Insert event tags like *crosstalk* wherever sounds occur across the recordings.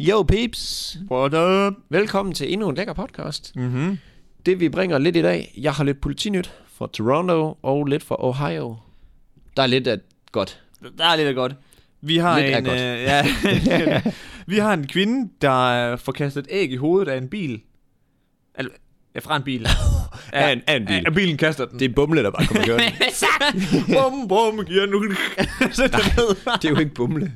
Yo peeps, What up? velkommen til endnu en lækker podcast. Mm-hmm. Det vi bringer lidt i dag, jeg har lidt politinyt fra Toronto og lidt fra Ohio. Der er lidt af godt. Der er lidt af godt. Vi har Lidt er en, godt. Øh, ja, *laughs* vi har en kvinde, der øh, får kastet et æg i hovedet af en bil. Al- ja, fra en *laughs* bil. Af en- af en bil. Af, af bilen kaster den. Det er bumle, der bare kommer gøre *laughs* bum, bum, giver *laughs* nu. Sæt den ned. *laughs* *laughs* Det er jo ikke bumle.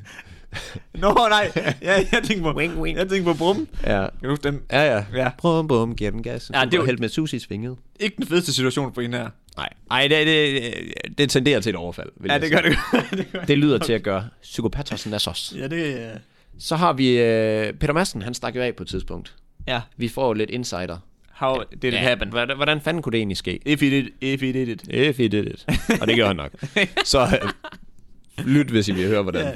Nå, nej. Ja, jeg tænkte på, Wing, wing. jeg tænkte på brum. Kan Ja, du huske den? ja. ja. Ja. Bum, bum, giver den gas. Ja, Ja, det det er var jo- helt med sus i svinget. Ikke den fedeste situation for en her. Nej, Ej, det, det, det tenderer til et overfald. Vil Ja, jeg det sige. gør det. gør- det *laughs* gør. Det lyder til at gøre psykopatersen af os. Ja, det øh, er... Så har vi øh, Peter Madsen, han stak jo af på et tidspunkt. Ja. Vi får jo lidt insider. How did it happen? Hvordan, hvordan fanden kunne det egentlig ske? If he did, if he did it. If he did it. Og det gør han *laughs* nok. Så øh, lyt, hvis I vil høre, hvordan. Ja.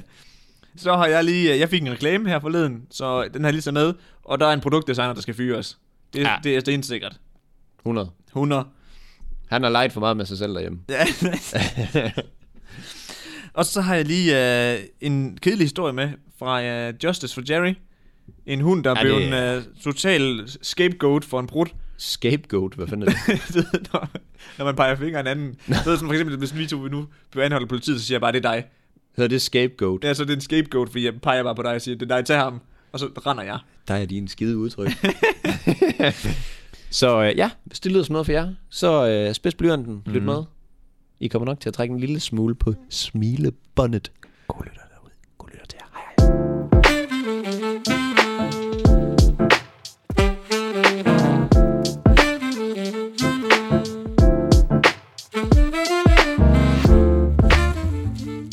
Så har jeg lige, øh, jeg fik en reklame her forleden, så den har lige så med, og der er en produktdesigner, der skal fyres. Det, Ja. ja. det er stensikkert. 100. 100. Han har leget for meget med sig selv *laughs* derhjemme. Ja. *laughs* og så har jeg lige øh, en kedelig historie med fra øh, Justice for Jerry. En hund, der Ja, ja, blev det- en øh, total scapegoat for en brud. *laughs* Scapegoat, hvad fanden er det? når, når man peger fingre af en anden. Så er det som for eksempel, hvis vi to nu bliver anholdt af politiet, så siger jeg bare, det er dig. Hedder det scapegoat? Ja, så er det en scapegoat, fordi jeg peger bare på dig og siger, det er dig, tag ham. Og så render jeg. Der er din skide *laughs* udtryk. så øh, ja, hvis det lyder som noget for jer, så øh, spids blyanten, lyt mm. med. I kommer nok til at trække en lille smule på smilebåndet. God lytter derude. God lytter til jer. Hej, hej.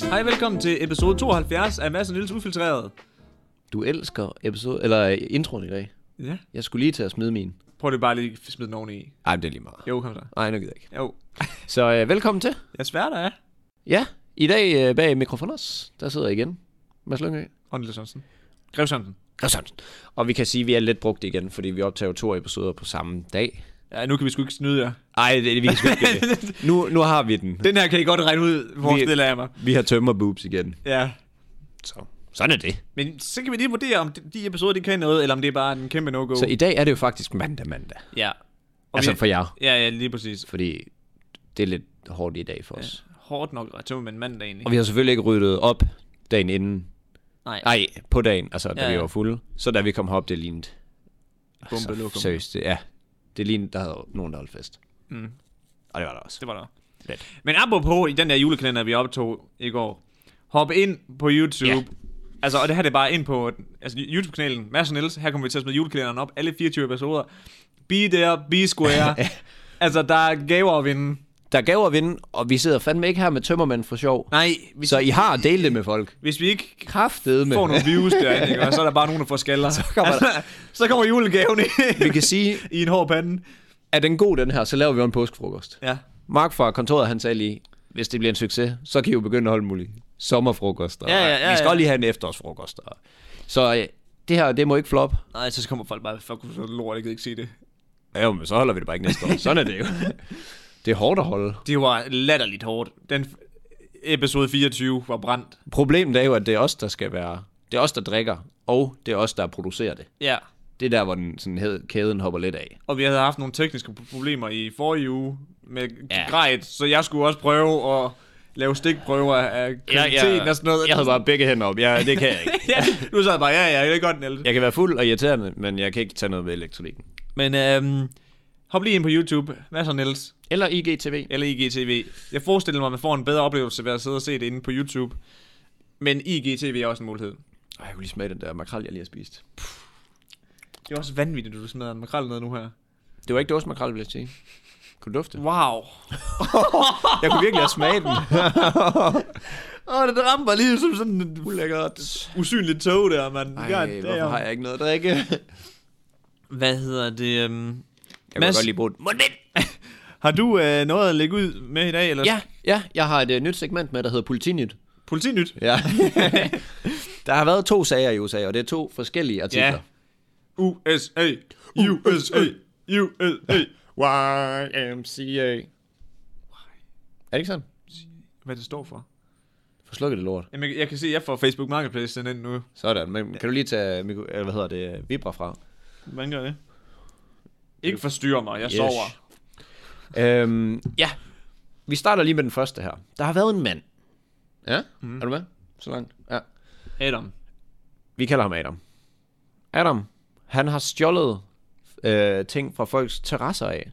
Hej, velkommen til episode 72 af Mads og Niels Ufiltreret. Du elsker episode, eller øh, introen i dag. Ja. Jeg skulle lige til at smide min. Prøv det bare lige at smide den oveni. Ej, det er lige meget. Jo, kom så. Nej, nu gider jeg ikke. Jo. Så øh, velkommen til. Jeg svær der er. Ja, i dag øh, bag mikrofoner, der sidder jeg igen. Mads Lyngø. Håndel Sørensen. Grev Sørensen. Christiansen. Og vi kan sige, at vi er lidt brugt igen, fordi vi optager jo to episoder på samme dag. Ja, nu kan vi sgu ikke snyde jer. Ej, det, vi kan sgu ikke *laughs* det. Nu, nu har vi den. Den her kan I godt regne ud, hvor Vi- stille jeg mig. Vi har tømmer boobs igen. Ja. Så. Sådan er det. Men så kan vi lige vurdere, om de- de episoder, de kan noget, eller om det er bare en kæmpe no-go. Så i dag er det jo faktisk mandag mandag. Ja. Og altså vi... for jer. Ja, ja, lige præcis. Fordi det er lidt hårdt i dag for os. Hårdt nok at tømme med en mandag egentlig. Og vi har selvfølgelig ikke ryddet op dagen inden. Nej. Nej, på dagen, altså da Ja, vi ja. var fulde. Så da vi kom herop, det lignede. Bombe altså, lokum. seriøst, det, ja. Det lignede, der havde nogen, der holdt fest. Mm. Og det var der også. Det var der. Lidt. Men apropos i den der julekalender, vi optog i går. Hop ind på YouTube. Ja. Ja. Altså, og det her det er bare ind på altså, YouTube-kanalen. Mads og Niels, her kommer vi til at smide julekalenderen op. Alle 24 episoder. Be there, be *laughs* square. altså, der er gaver at vinde. Der er gaver at vinde, og vi sidder fandme ikke her med tømmermænd for sjov. Nej, hvis, Så så... I har delt det med folk. hvis vi ikke Kraftet med. får nogle views derinde, ikke? og så er der bare nogen, der får skaller. Så kommer der- så kommer julegaven i, Vi kan sige, i en hård pande. er den god den her, så laver vi jo en påskefrokost. Ja. Mark fra kontoret, han sagde lige, hvis det bliver en succes, så kan I jo begynde at holde mulige sommerfrokoster. Ja, ja, ja, vi skal ja. også lige have en efterårsfrokost. og- Så øh, det her, det må ikke flop. Nej, så kommer folk bare, fuck, så lort, jeg kan ikke se det. Ja, jo, men så holder vi det bare ikke næste år. Sådan er det jo. *laughs* Det er hårdt at holde. Det var latterligt hårdt. Den f- episode 24 var brændt. Problemet er jo, at det er os, der skal være... Det er os, der drikker, og det er os, der producerer det. Ja. Det er der, hvor den, sådan, hed- kæden hopper lidt af. Og vi havde haft nogle tekniske pro- problemer i forrige uge med Ja. ja. grejt, så jeg skulle også prøve at lave stikprøver af kvaliteten og sådan noget. jeg havde bare begge hænder op. Jeg, det kan jeg *laughs* ikke. *laughs* ja, nu sad jeg bare, ja, ja, det er godt, Niels. Jeg kan være fuld og irriterende, men jeg kan ikke tage noget ved elektronikken. Men øhm, hop lige ind på YouTube. Hvad så, Niels? E Eller IGTV. Eller IGTV. Jeg forestiller mig, at man får en bedre oplevelse ved at sidde og se det inde på YouTube. Men IGTV er også en mulighed. Ej, jeg kunne lige smage den der makrel, jeg lige har spist. Det er også vanvittigt, at du smider en makrel ned nu her. Det var ikke dåse makrel, vil jeg sige. Kunne du dufte? Wow. Jeg kunne virkelig have smaget *laughs* den. Åh, det ramper lige som sådan et ulækkert, usynligt tog der, mand. Ej, God hvorfor damn. har jeg ikke noget at drikke? *laughs* Hvad hedder det? Um... Jeg Mads? kunne godt lige bruge den. Mundbind! Har du øh, noget at lægge ud med i dag? Eller? Ja, ja, jeg har et uh, nyt segment med, der hedder Politinyt. Politinyt? Ja. *laughs* der har været to sager i USA, og det er to forskellige artikler. Ja. USA. USA. USA. YMCA. Er det ikke sådan? Hvad det står for? Få slukket det lort. Jamen, jeg, jeg kan se, at jeg får Facebook Marketplace sendt ind nu. Sådan, men kan du lige tage, mikro, eller hvad hedder det, Vibra fra? Hvordan gør det? Ikke forstyrre mig, jeg yes. sover. Øhm, ja, vi starter lige med den første her. Der har været en mand. Ja, mm. er du med? Så langt. Ja. Adam. Vi kalder ham Adam. Adam, han har stjålet øh, ting fra folks terrasser af.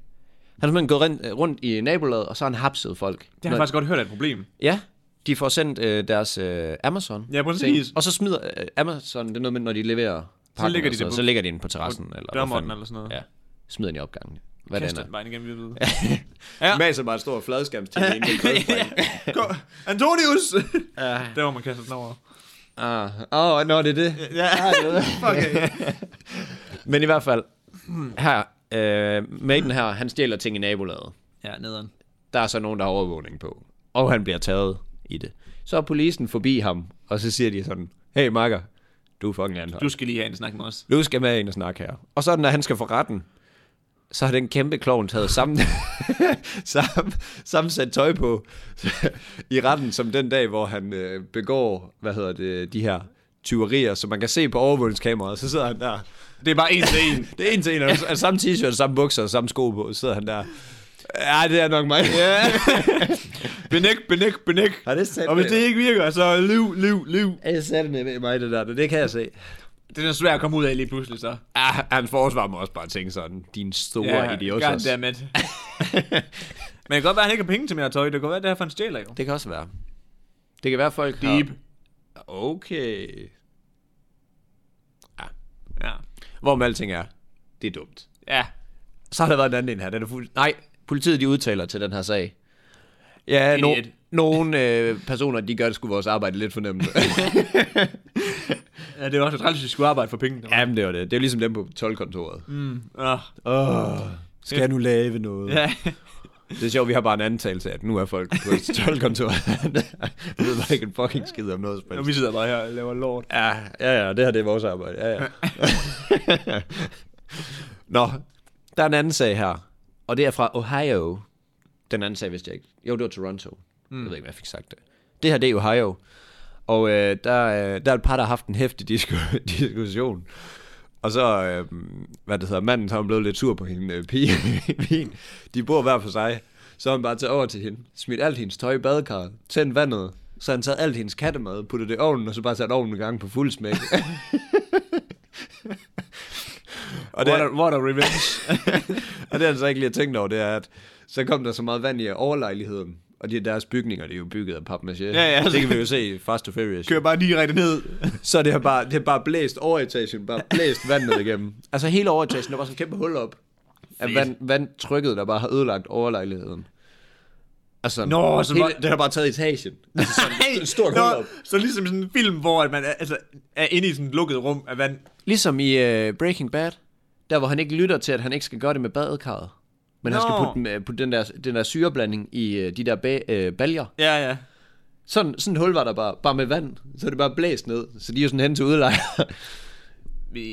Han har simpelthen gået rundt, rundt i nabolaget, og så har han hapset folk. Det har jeg faktisk godt hørt er et problem. Ja, de får sendt øh, deres øh, Amazon. Ja, præcis. Og så smider øh, Amazon, det er noget med, når de leverer pakken, ligger og sådan de det noget, på- så ligger de den på terrassen. Eller hvad Dørmånden fanden. eller sådan noget. Ja, smider den i opgangen. Hvad Kast det er. den bare ind igennem *laughs* vinduet. Ja. Maser bare en stor fladskærm til *laughs* det Gå- Antonius! *laughs* Der var man kastet den over. Ah, åh, nå, det er det. Ja, okay. Men i hvert fald, her, øh, Maiden her, han stjæler ting i nabolaget. Ja, nederen. Der er så nogen, der har overvågning på. Og han bliver taget i det. Så er polisen forbi ham, og så siger de sådan, hey makker, du er fucking anholdt. Du skal lige have en snak med os. Nu skal med ind og snakke her. Og så når han skal for retten, så har den kæmpe klovn taget *laughs* sammen, sammen, sammen sat tøj på *laughs* i retten, som den dag, hvor han øh, begår, hvad hedder det, de her tyverier, som man kan se på overvågningskameraet, så sidder han der. Det er bare en til en. Det er en til en, og altså, samme t-shirt, samme bukser og samme sko på, så sidder han der. Ja, det er nok mig. Ja. Benæk, benæk, benæk. Har det sat Og hvis det ikke virker, så liv, liv, liv. Jeg satte med mig det der, det kan jeg se. Det er svært at komme ud af lige pludselig, så. Ja, han forsvarer mig også bare tænke sådan, din store ja, idiot. *laughs* goddammit. Men det kan godt være, at han ikke har penge til mere tøj. Det kan godt være, at det her for en stjæler jo. Det kan også være. Det kan være, folk har- Deep. Okay. Ja. Hvor med alting er, det er dumt. Ja. Så har der været en anden en her. Den er fuld... Nej, politiet de udtaler til den her sag. Ja, no, Idiot. nogle øh, personer, de gør det sgu vores arbejde lidt for *laughs* nemt. ja det er også træls, at vi skulle arbejde for penge. Ja. Jamen, det var det. Det er jo ligesom dem på tolvkontoret. Mm. Ah. Oh, skal jeg nu lave noget? ja. Det er sjovt, vi har bare en antagelse af, at nu er folk på tolvkontoret. *laughs* Jeg ved bare ikke en fucking skid om noget. som helst. Og vi sidder bare her og laver lort. Ja, ja, ja, det her det er vores arbejde. Ja, ja. *laughs* Nå, der er en anden sag her, og det er fra Ohio. Den anden sag vidste jeg ikke. Jo, det var Toronto. Mm. Jeg ved ikke, hvad jeg fik sagt det. Det her, det er Ohio. Og øh, der, øh, der er et par, der har haft en hæftig disku- *laughs* diskussion. Og så, øh, hvad det hedder, manden, så er han blevet lidt sur på hende, øh, pige, *laughs* pigen. De bor hver for sig. Så har han bare taget over til hende, smidt alt hendes tøj i badekarret, tændt vandet, så har han taget alt hendes kattemad, puttet det i ovnen, og så bare sat ovnen i gang på fuld smæk. *laughs* og, det, What a, what a revenge. *laughs* og det han så ikke lige har tænkt over, det er, at så kom der så meget vand i overlejligheden, og de deres bygninger, det er jo bygget af papmaché. Ja, ja. Det kan vi jo se i Fast and Furious. Kører bare direkte ned. Så det har bare, det har bare blæst overetagen, bare blæst vandet igennem. Altså hele overetagen, der var sådan et kæmpe hul op. Af vand, vandtrykket, der bare har ødelagt overlejligheden. Altså, Nå, så hele, var- det har bare taget etagen. Altså, *laughs* sådan, et stort Nå, hul op. Så ligesom sådan en film, hvor at man er, altså, er inde i sådan et lukket rum af vand. Ligesom i uh, Breaking Bad, der hvor han ikke lytter til, at han ikke skal gøre det med badekarret. Men han skal Nå. putte, den- øh, putte den, der, den der syreblanding i uh, de der ba- uh, baljer. Ja, ja. Sådan, sådan et hul var der bare, bare med vand. Så er det bare blæst ned. Så de er jo sådan hen til udlejer. *laughs* Vi...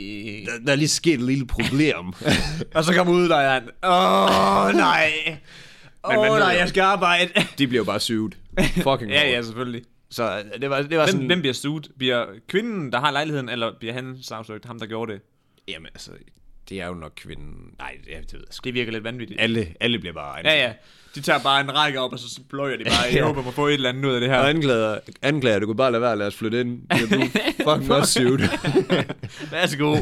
der, der er lige sket et lille problem. Og så kommer ud, der er en... Åh, oh, nej. Åh, Men man oh, ved nej, jo- jeg skal arbejde. *laughs* De blev bare sygt. *laughs* Fucking ja, ja, selvfølgelig. Så øh, det var, det var Hvem, sådan... hvem bliver suget? Bliver kvinden, der har lejligheden, eller bliver han sagsøgt, ham der gjorde det? Jamen altså, det er jo nok kvinden... Nej, jeg ved det sgu. Det virker lidt vanvittigt. Alle, alle bliver bare Ja, ja. De tager bare en række op, og så pløjer de bare. *laughs* Jeg Ja. håber, man får et eller andet ud af det Og her. anklager, anklager, du kunne bare lade være, lad os flytte ind. Ja, *laughs* du er fucking også sygt. *laughs* Værsgo.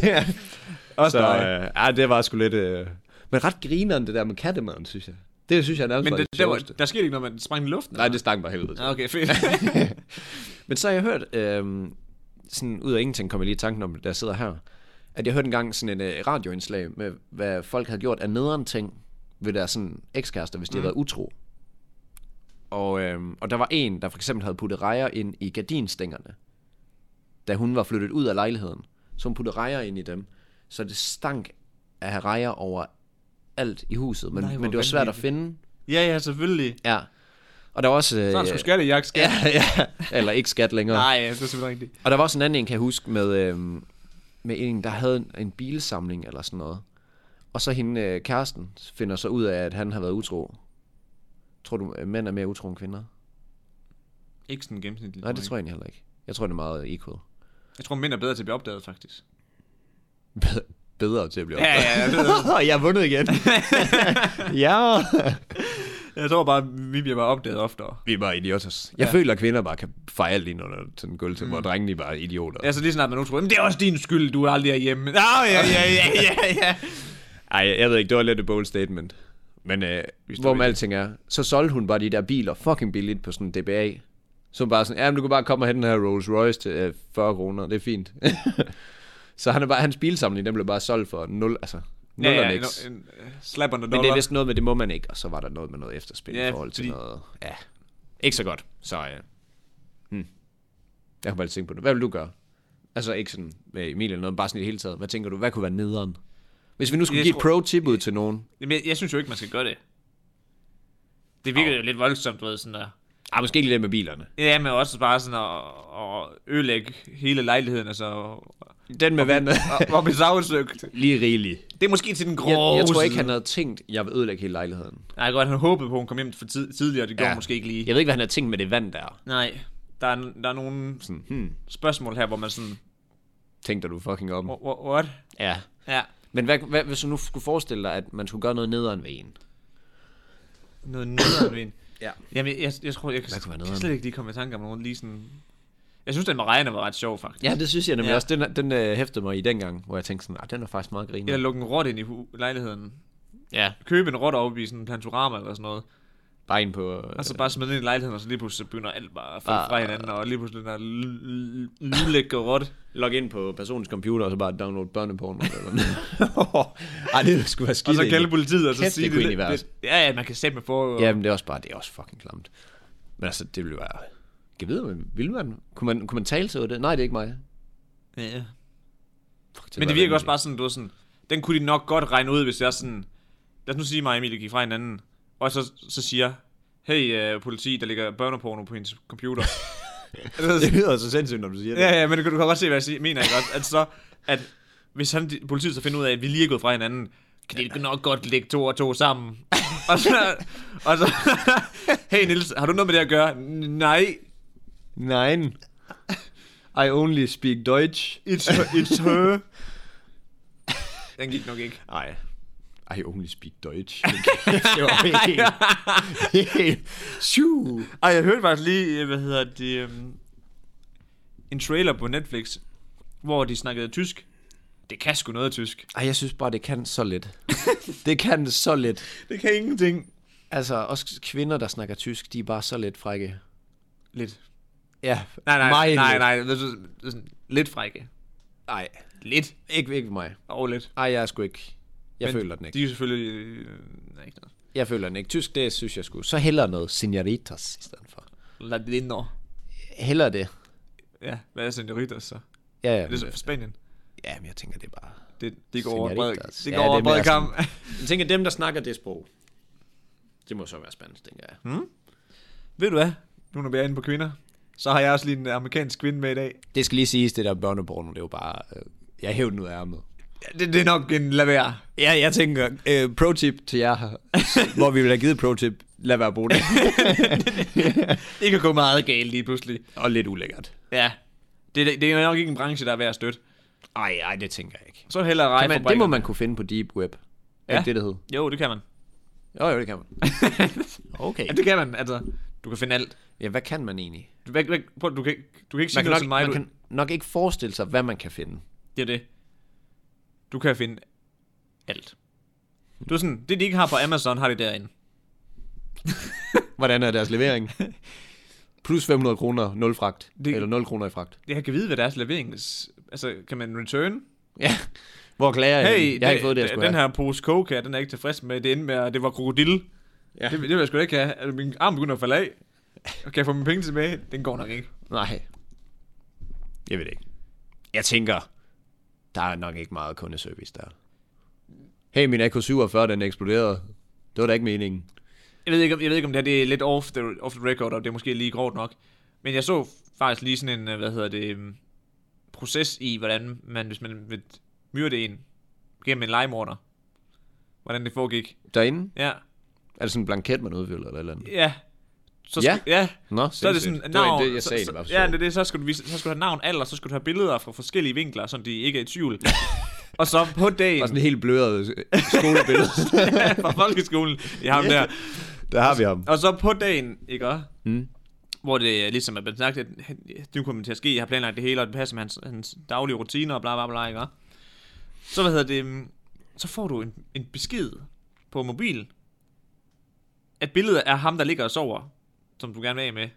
*laughs* også dig. øh, ja, det var sgu lidt... Øh... Men ret grineren, det der med kattemaden, synes jeg. Det synes jeg nærmest Men var det, det der, var, sjoveste. der skete ikke noget, man sprang i luften? Nej, det stank bare helvede. Ah, Okay, fedt. *laughs* Men så har jeg hørt, øh, sådan ud af ingenting kom jeg lige i tanken om, da jeg sidder her, at jeg hørte engang sådan et øh, radioindslag med, hvad folk havde gjort af nederen ting ved deres sådan, ekskærester, hvis de mm. havde været utro. Og, øh, og der var en, der for eksempel havde puttet rejer ind i gardinstængerne, da hun var flyttet ud af lejligheden. Så hun puttede rejer ind i dem, så det stank af rejer over alt i huset, men, Nej, Nej, hvor men det var svært at vanvittigt. finde. ja, ja, selvfølgelig. Ja. Og der var også... Øh, Så er sgu skatte, jeg skal. *laughs* ja, ja, eller ikke skat længere. Nej, ja, det er simpelthen rigtigt. Og der var også en anden en, kan jeg huske, med, øhm, med en, der havde en, en bilsamling eller sådan noget. Og så hende, øh, kæresten, finder så ud af, at han har været utro. Tror du, øh, mænd er mere utro end kvinder? Ikke sådan gennemsnitligt. Nej, det tror jeg egentlig heller ikke. Jeg tror, det er meget equal. ikke. Jeg tror, mænd er bedre til at blive opdaget, faktisk. Bedre, bedre til at blive Ja, ja, jeg ved ja. jeg har vundet igen. ja. *laughs* Jeg tror bare, vi bliver bare opdaget oftere. Vi er bare idioter. Jeg Ja. ja. føler, at kvinder bare kan fejre alt ind under sådan en gulv til, mm. hvor drengene bare er idioter. Ja, så lige snart man nu tror, "Jamen, det er også din skyld, du aldrig er hjemme. Nå, ja, ja, ja, ja, ja. Ej, jeg ved ikke, det var lidt et bold statement. Men øh, står hvor ved med alting er, så solgte hun bare de der biler fucking billigt på sådan en DBA. Som bare sådan, ja, men du kan bare komme og hente den her Rolls Royce til øh, 40 kroner, det er fint. *laughs* så han er bare, hans bilsamling, den blev bare solgt for 0, altså 0 ja, ja, en, en, øh, slap on the dollar. Men det er vist noget med, det må man ikke, og så var der noget med noget efterspil Ja, ja, i forhold til fordi- fordi... noget. Ja, ikke så godt. Så øh, hmm. jeg kunne bare lidt tænke på det. Hvad vil du gøre? Altså ikke sådan med Emilie eller noget, men bare sådan i det hele taget. Hvad tænker du, hvad kunne være nederen? Hvis vi nu skulle Jeg give tror- et pro-tip ud til nogen, Jamen, jeg, jeg synes jo ikke, man skal gøre det. Det virker jo lidt voldsomt, du ved, sådan der. Ah, måske ikke lige det med bilerne. Ja, men også bare sådan at, at ødelægge hele lejligheden, altså. Og, Den med vandet. og blive savsøgt. *laughs* lige rigeligt. Det er måske til den grove Jeg, jeg tror ikke, side. han havde tænkt, jeg vil ødelægge hele lejligheden. Nej, godt, han håbede på, at hun kom hjem for tid, tidligere, det gjorde ja. måske ikke lige. Jeg ved ikke, hvad han havde tænkt med det vand der. Nej, der er, der er nogle Sådan, hmm, spørgsmål her, hvor man sådan, tænkte du fucking om. "Wha- wha- what? Ja. Ja, Men hvad, hvad, hvis du nu skulle forestille dig, at man skulle gøre noget nederen ved en? noget nederen ved en. Ja. Jamen, jeg, jeg tror, jeg kan, Hvad kunne være jeg kan nederen? slet ikke lige komme i tanke om nogen lige sådan... Jeg synes, den med regner var ret sjov, faktisk. Ja, det synes jeg nemlig Ja. ja. også. Den, den øh, hæftede mig i dengang, hvor jeg tænkte sådan, "Ah, den er faktisk meget Eller griner. lukke en rot ind i hu- lejligheden. Ja. Købe en rot op i sådan en plantorama eller sådan noget. Bare ind på... Øh, Og så bare smide den ind i lejligheden, og så lige pludselig så begynder alt bare at falde Bare- fra hinanden, og lige pludselig den der l- l- lille *laughs* rot. log ind på personens computer, og så bare download børneporno. eller *laughs* noget. Ej, det skulle være skidt. Og så egentlig. kalde politiet, og så Kæft, sige det det. kunne lidt- egentlig være- lidt- Ja, ja, man kan sætte med for... Ja. Ja, men det er også bare, det er også fucking klamt. Men altså, det ville være... Jeg ved, men vil man? Kunne man, kunne man tale sig over det? Nej, det er ikke mig. ja. Fuck, Men det var virker vanvittigt. også bare sådan, du ved, sådan, den kunne de nok godt regne ud, hvis jeg sådan, lad os nu sige mig og Emilie gik fra hinanden, og så, så siger, hey øh, politi, der ligger børneporno på hendes *laughs* computer. Altså, Det lyder så sindssygt, når du siger det. ja, ja, men du kan du kan godt se, hvad jeg siger, mener, ikke også? At så, at hvis han, de- politiet så finder ud af, at vi lige er gået fra hinanden, kan de nok godt lægge to og to sammen. og så, og så hey Nils, har du noget med det at gøre? "N- Nej, Nein. I only speak Deutsch. it's her, it's her. Den gik nok ikke. Nej. I only speak Deutsch. *laughs* det var *laughs* helt... helt... Shoo. Ej, jeg hørte faktisk lige, øh, hvad hedder det, um, en trailer på Netflix, hvor de snakkede tysk. Det kan sgu noget tysk. Ej, jeg synes bare, det kan så *laughs* lidt. det kan så lidt. Det kan ingenting. Altså, også kvinder, der snakker tysk, de er bare så lidt frække. Lidt. Ja, Nej, nej, mig nej, lidt. nej, det er sådan- det er sådan Lidt frække. Nej, Lidt. ikke, ikke mig. Og lidt. Ej, jeg er sgu ikke... Jeg Men føler den ikke. De er selvfølgelig... Øh, nej, ikke noget. Jeg føler den ikke. Tysk, det synes jeg skulle. Så heller noget senoritas i stedet for. Latiner. Heller det. Ja, hvad er senoritas så? Ja, ja. Det er men så fra Spanien. Ja, men jeg tænker, det er bare... Det, det går over en bred, Senoritas. det Ja, går over det en er bred mere kamp. Jeg tænker, dem, der snakker det sprog, det må så være spansk, tænker jeg. Hmm? *laughs* Ved du hvad? Nu når vi er inde på kvinder, så har jeg også lige en amerikansk kvinde med i dag. Det skal lige siges, det der børneporno, det er jo bare... Øh, jeg hævde den ud af ærmet. Ja, det, det er nok en lavere. Ja, jeg tænker, øh, pro-tip til jer, *laughs* hvor vi vil have givet pro-tip, lad være at bruge det. *laughs* Det kan gå meget galt lige pludselig. Og lidt ulækkert. Ja. Det, det, det er nok ikke en branche, der er værd at støtte. Ej, ej, det tænker jeg ikke. Så heller Ej, rej man, det må man kunne finde på Deep Web. Er Ja. det det, det hed? Jo, det kan man. Jo, jo, det *laughs* kan man. Okay. Ja, det kan man, altså. Du kan finde alt. Ja, hvad kan man egentlig? Du, væk, væk, prøv, du, kan, ikke- du kan ikke sige Man kan, noget til nok, mig. man Du, kan nok ikke forestille sig, hvad man kan finde. Det er det. Du kan finde alt. Du er sådan, det de ikke har på Amazon, har de derinde. Hvordan er deres *laughs* levering? Plus 500 kroner, 0 fragt. Det- Det... Eller 0 kroner i fragt. Jeg kan vide, hvad deres leverings... Altså, kan man return? Ja. Hvor klager jeg? Hey, Hey, Øhm, jeg har ikke fået det, jeg den, skulle den have. her pose coke her, den er jeg ikke tilfreds med. Det endte med, at det var krokodille. Ja. Ja. Det, det vil jeg sgu da ikke have. Altså, min arm begynder at falde af. Kan jeg få mine penge tilbage? Den går nok ikke. Nej. Jeg ved det ikke. Jeg tænker, der er nok ikke meget kundeservice der. Hey, min AK-47, den eksploderede. Det var da ikke meningen. Jeg ved ikke, om, jeg ved ikke, om det her det er lidt off the, off the record, og det er måske lige grovt nok. Men jeg så faktisk lige sådan en, øh, hvad hedder det, øhm, proces i, hvordan man, hvis man vil myrde en gennem en legemorder, hvordan det foregik. Derinde? Ja, Er det sådan en blanket, man udfylder eller et eller andet? ja. Så Ja. skal- ja. Nå, Så er det sådan, sindssygt. navn, var det, jeg så- sagde. så, det var ja, det er det, så skulle, du vise, så skulle du have navn, alder, så skulle du have billeder fra forskellige vinkler, så de ikke er i *laughs* tvivl. og så på dagen Og sådan et helt bløret skolebillede. *laughs* *laughs* fra folkeskolen, jeg har ham der. der har vi ham. Og så på dagen, ikke også? Mm. Hvor det øh, ligesom er blevet sagt, at han- nu kommer det til at ske, jeg har planlagt det hele, og det passer med hans, hans daglige rutiner og bla bla bla, ikke også? Så hvad hedder det, mm, så får du en, en besked på mobil, at billedet er ham, der ligger og sover, som du gerne vil af med.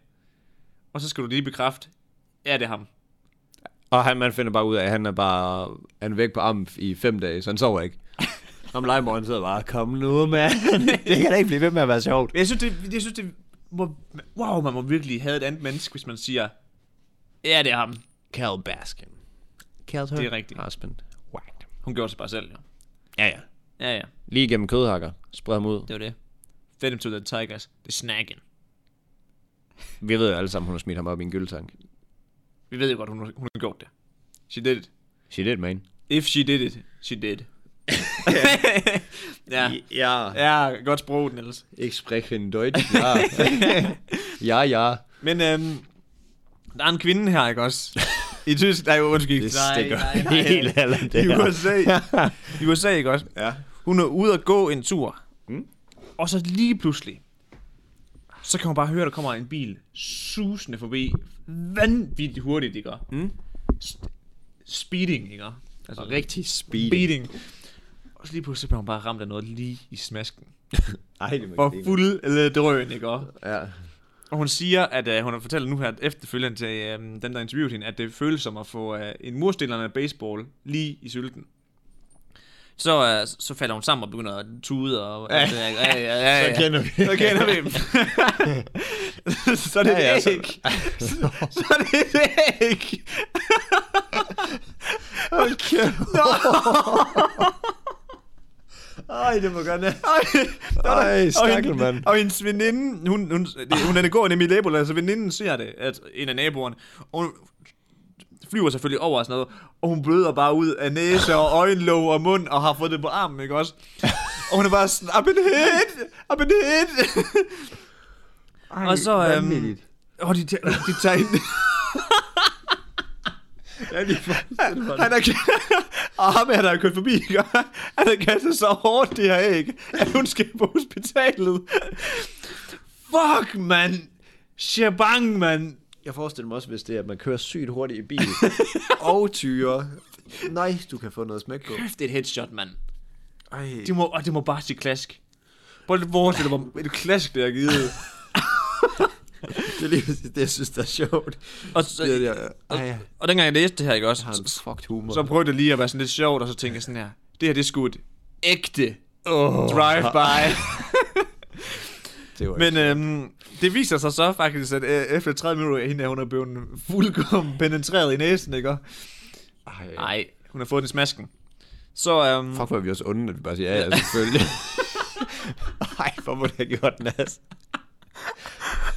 Og så skal du lige bekræfte, ja, det er ham. Og han, man finder bare ud af, at han er bare han er væk på amf i fem dage, så han sover *laughs* ikke. Om legemorgen sidder bare, kom nu, mand. *laughs* det kan da ikke blive ved med at være sjovt. Men jeg synes, det, jeg synes, det må, wow, man må virkelig have et andet menneske, hvis man siger, ja, det er ham. Carol Baskin. Carol Det er rigtigt. Husband. Whacked. Hun gjorde det bare selv, jo. Ja, ja. Ja, ja, Lige gennem kødhakker. Spred ham ud. det var det. Fed him to the tigers. Det er snakken. Vi ved jo alle sammen, hun har smidt ham op i en gyldetank. Vi ved jo godt, hun, har- hun har gjort det. She did it. Shit it, man. If she did it, she *laughs* did. ja. Ja. ja, godt sprog, Niels. Ikke sprechen Deutsch. Ja, *laughs* ja. ja. Men øhm, der er en kvinde her, ikke *laughs* også? I tysk, nej, undskyld. Det Nej, stikker nej, nej. helt alderen, det I her. USA. *laughs* I USA, ikke også? Ja. Hun er ude at gå en tur. Mm. Og så lige pludselig, så kan hun bare høre, at der kommer en bil susende forbi. Vanvittigt hurtigt, ikke? Mm. Speeding, ikke? Altså Rigtig speed. speeding. Og så lige pludselig bliver hun bare ramt af noget lige i smasken. Ej, det må Hvor ikke grine. fuld eller drøn, ikke? Og Ja. og hun siger, at øh, hun har fortalt nu her efterfølgende til øh, dem, der interviewede hende, at det føles som at få øh, en murstillerne af baseball lige i sylten. Så, øh, så falder hun sammen og begynder at tude og... Ja, ja, ja, ja, *laughs* ja. Så kender vi. Så kender *laughs* vi dem. så er det Ja, ja, ja, så- ikke. Så er det et æg. Hold kæft. Ej, det må *laughs* godt næ- Ej, stakkel, mand. Og hendes veninde, hun, hun, det, hun er går nemlig i naboen, altså veninden ser det, at en af naboerne, og hun flyver selvfølgelig over og sådan noget, og hun bløder bare ud af næse og øjenlåg og mund, og har fået det på armen, *laughs* ikke også? Og hun er bare sådan, I've been hit, I've been hit. Ej, Og så, øhm, vanvittigt. Og de, tager- de tager *laughs* hende, Ja, de forestiller mig det. han er, og ham her, der er kørt forbi, ikke? han har kastet så hårdt det her æg, at hun skal på hospitalet. Fuck, mand. Shabang, mand. Jeg forestiller mig også, hvis det er, at man kører sygt hurtigt i bil *laughs* og tyre. Nej, du kan få noget smæk på. Kæft, det er et headshot, mand. Ej. Det må, og det må bare sige klask. Prøv lige at forestille dig, hvor et klask, det har givet. Det er lige præcis det, jeg synes, der er sjovt. Og, så, Det der, ej, jeg og dengang jeg læste det her, ikke også, har en så, fucked humor. så prøvede jeg lige at være sådan lidt sjovt, og så tænkte jeg sådan her, det her, det er sgu et ægte oh. drive-by. det var Men øhm, det viser sig så faktisk, at øh, efter 30 minutter, at hende her, hun er blevet fuldkommen *laughs* penetreret i næsen, ikke? ej, Nej. Hun har fået den i smasken. Så, øhm, *laughs* fuck, hvor er vi også onde, at vi bare siger, *laughs* ja, ja, selvfølgelig. Ej, hvor må det have gjort, Nas?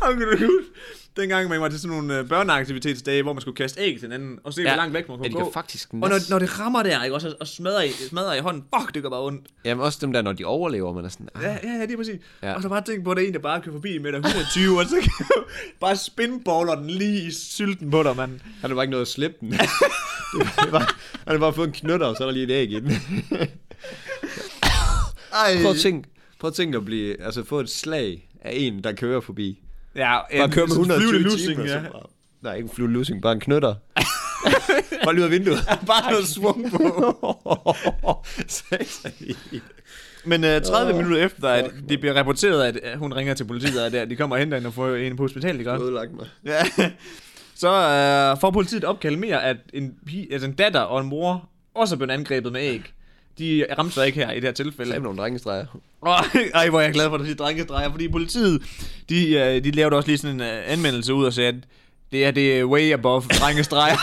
Og kan du huske, dengang man var til sådan nogle øh, børneaktivitetsdage, hvor man skulle kaste æg til hinanden, og se, ja. hvor langt væk man kunne Ja, det gå. gør faktisk Og Nas. når, når det rammer der, ikke også, og- og smadrer i, smadrer i hånden, fuck, det gør bare ondt. Jamen også dem der, når de overlever, man er sådan, ah, Ja, ja, ja, det er præcis. Ja. Ja. Og så bare tænk på, at der er en, der bare kører forbi med der 120, og så kan du *laughs* bare spinballer den lige i sylten på dig, mand. han har bare ikke noget at slippe *laughs* den. det er bare, han har bare fået en knytter, og så er der lige et æg i den. Ej. prøv, at tænk, prøv at tænk at blive, altså få et slag af en, der kører forbi. Ja, Bare køre med sådan 120 flyvende timer. lussing, og så ja. bare- Nej, ikke en flyvende lussing, bare en knytter. *laughs* bare lige ud af *laughs* vinduet. *laughs* Bare noget svung på. Men uh, 30 oh, minutter efter, at det bliver rapporteret, at øh, hun ringer til politiet, og der, de kommer og henter hende og får hende på hospitalet, ikke? også? Ødelagt mig. Ja. *laughs* Så øh, får politiet opkald mere, at en, pige, altså en datter og en mor også er blevet angrebet med æg. De ramte sig ikke her i det her tilfælde. Lad nogle drengestreger. Åh, Ej, hvor er jeg glad for, at du siger drengestreger, fordi politiet, de, øh, de lavede også lige sådan en øh, anmeldelse ud og sagde, at det er det er way above drengestreger.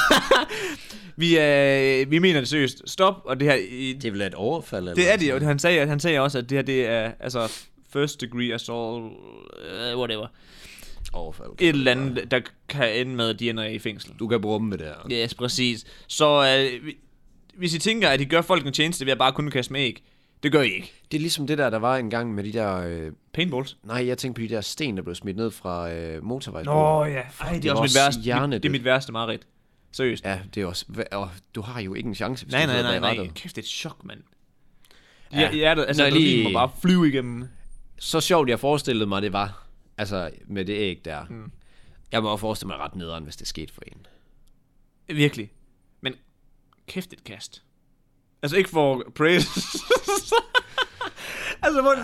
*laughs* vi, øh, vi mener det seriøst. Stop, og det her... I, Det er vel et overfald? Eller det er det jo. Han sagde, han sagde også, at det her det er altså first degree assault, øh, whatever. Overfald. Et eller andet, der kan ende med, at de ender i fængsel. Du kan brumme det der. Ja, yes, præcis. Så øh, vi- hvis I tænker, at I gør folk en tjeneste ved at bare kun kaste med æg, Det gør I ikke. Det er ligesom det der, der var engang med de der... Øh, Paintballs. nej, jeg tænkte på de der sten, der blev smidt ned fra øh, motorvejen. ja. Ej, det det er var også mit også værste. Mit, det er hjernedødt. mit værste mareridt. Seriøst. Ja, det er også... hva- Og du har jo ikke en chance, hvis Nej, du nej, sidder nej, bag nej. rattet. Kæft, det er et chok, mand. Ja. Ja, ja det, altså, Når Når jeg lige... må lige- bare flyve igennem. Så sjovt, jeg forestillede mig, det var. Altså, med det æg der. Mm. Jeg må også forestille mig ret nederen, hvis det skete for en. Virkelig. Men kæft et kast. Altså ikke for *laughs* praise. altså, hvor...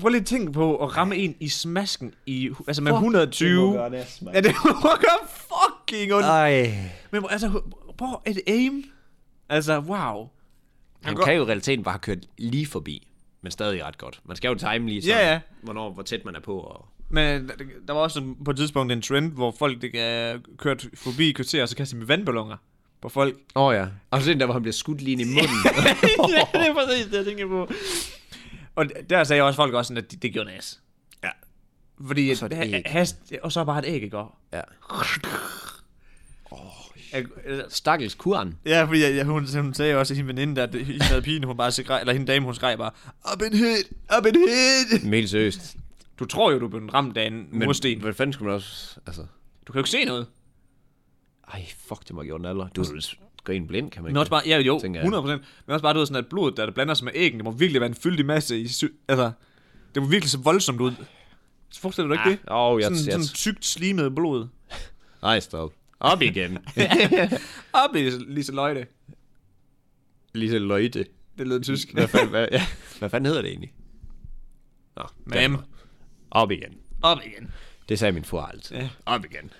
Prøv lige at tænke på at ramme en i smasken i, altså med 120. Det altså, ja, det må *laughs* gøre fucking ondt. Ej. Men hvor- altså, hvor- hvor et aim? Altså, wow. Han går- kan jo i realiteten bare have kørt lige forbi, men stadig ret godt. Man skal jo time lige Ja, ja. hvornår, hvor tæt man er på. Og... Men der, der var også på et tidspunkt en trend, hvor folk det, uh, kørte forbi kvarter, og så kastede med vandballoner på folk. Åh oh, ja. Og så den der, hvor han bliver skudt lige ind i munden. *laughs* *laughs* ja, det er præcis det, jeg tænker på. Og der sagde også folk også sådan, at det, det gjorde nas. Ja. Fordi og så så, et æg. et hast, og så bare et æg, ikke? Og- ja. Jeg- altså- Stakkels kuren. Ja, fordi jeg, jeg, hun, hun sagde også, at hende veninde, der at hende havde pigen, hun bare skreg, eller hende dame, hun skreg bare, Up in hit, up in hit. Helt seriøst. Du tror jo, du blev ramt af en Men mursten. hvad fanden skulle man også... Altså... Du kan jo ikke se noget. Ej, fuck, det må have gjort en alder. Du er grin blind, kan man Men ikke. også bare, ja jo, tænker jeg. 100%. Men også bare, du ved, sådan, at blodet, der, der blander sig med æggen, det må virkelig være en fyldig masse i sy- Altså, det må virkelig se voldsomt ud. Så forestiller du dig ikke det? Åh, oh, jeg, sådan, jeg, sådan tykt slimet blod. Ej, stop. Op igen. Op i Lise Løjde. *laughs* Lise Løjte. Det lød tysk. Hvad fanden, hvad, ja. hvad fanden hedder det egentlig? Nå, Ma'am. op igen. Op igen. Det sagde min far altid. Ja. Op igen.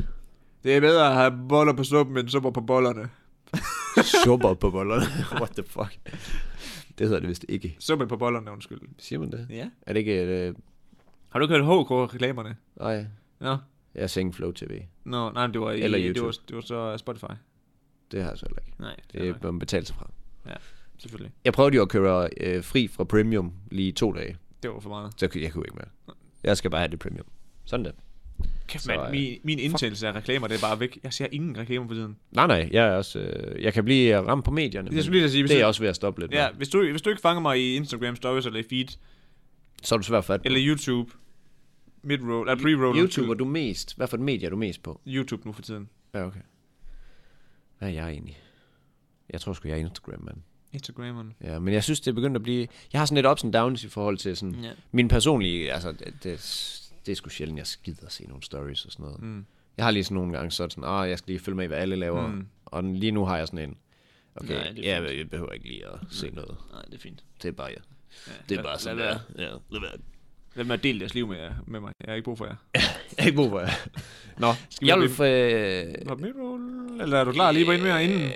Det er bedre at have boller på suppen, end supper på bollerne. Supper på bollerne. *laughs* What the fuck? Det hedder det vist ikke. Suppe på bollerne, undskyld. Siger man det? Ja. Er det ikke et... Øh... Har du ikke hørt HK-reklamerne? Nej, Nå. jeg har set Flow TV. Nå, nej, men det var, i, Eller det YouTube. var, det var så Spotify. Det har jeg så heller ikke. Nej, Det det er, man betaler sig fra. ja, selvfølgelig. Jeg prøvede jo at køre øh, fri fra premium lige to dage. Det var for meget. Så jeg, jeg kunne ikke mere. Jeg skal bare have det premium. Sådan det. Kæft, Så, mand, øh, min, min indtagelse af reklamer, det er bare væk. Jeg ser ingen reklamer for tiden. Nej, nej. Jeg, er også, øh, jeg kan blive øh, ramt på medierne. Jeg men skulle lige sige, hvis det er du- jeg også ved at stoppe lidt Ja, ja. hvis du, hvis du ikke fanger mig i Instagram stories, eller i feed, Så er du svært at fatte. eller YouTube, mid-roll, eller pre-roll. YouTube er du mest. Hvad for et medie er du mest på? YouTube nu for tiden. Ja, okay. Hvad er jeg egentlig? Jeg tror sgu, jeg er Instagram, mand. Instagramerne. Ja, men jeg synes, det er begyndt at blive... Jeg har sådan lidt ups and downs i forhold til sådan... Ja. Min personlige... Altså, det, det, det er sgu sjældent, jeg gider at se nogle stories og sådan noget. Mm. Jeg har lige sådan nogle gange så er det sådan, ah, jeg skal lige følge med i, hvad alle laver. Mm. Og den- lige nu har jeg sådan en... Okay, Nej, Nej, det er jeg, jeg behøver ikke lige at se noget. Nej, det er fint. Mm. Det er bare jeg. Ja, Det er lad- bare sådan, lad der. være. Ja, lad være. Lad mig dele deres liv med, jer, med mig. Jeg har ikke brug for jer. Jeg har ikke brug for jer. Nå, Skal vi jeg have vil... Øh, Har midroll? Eller er du klar lige på en mere inden? øh,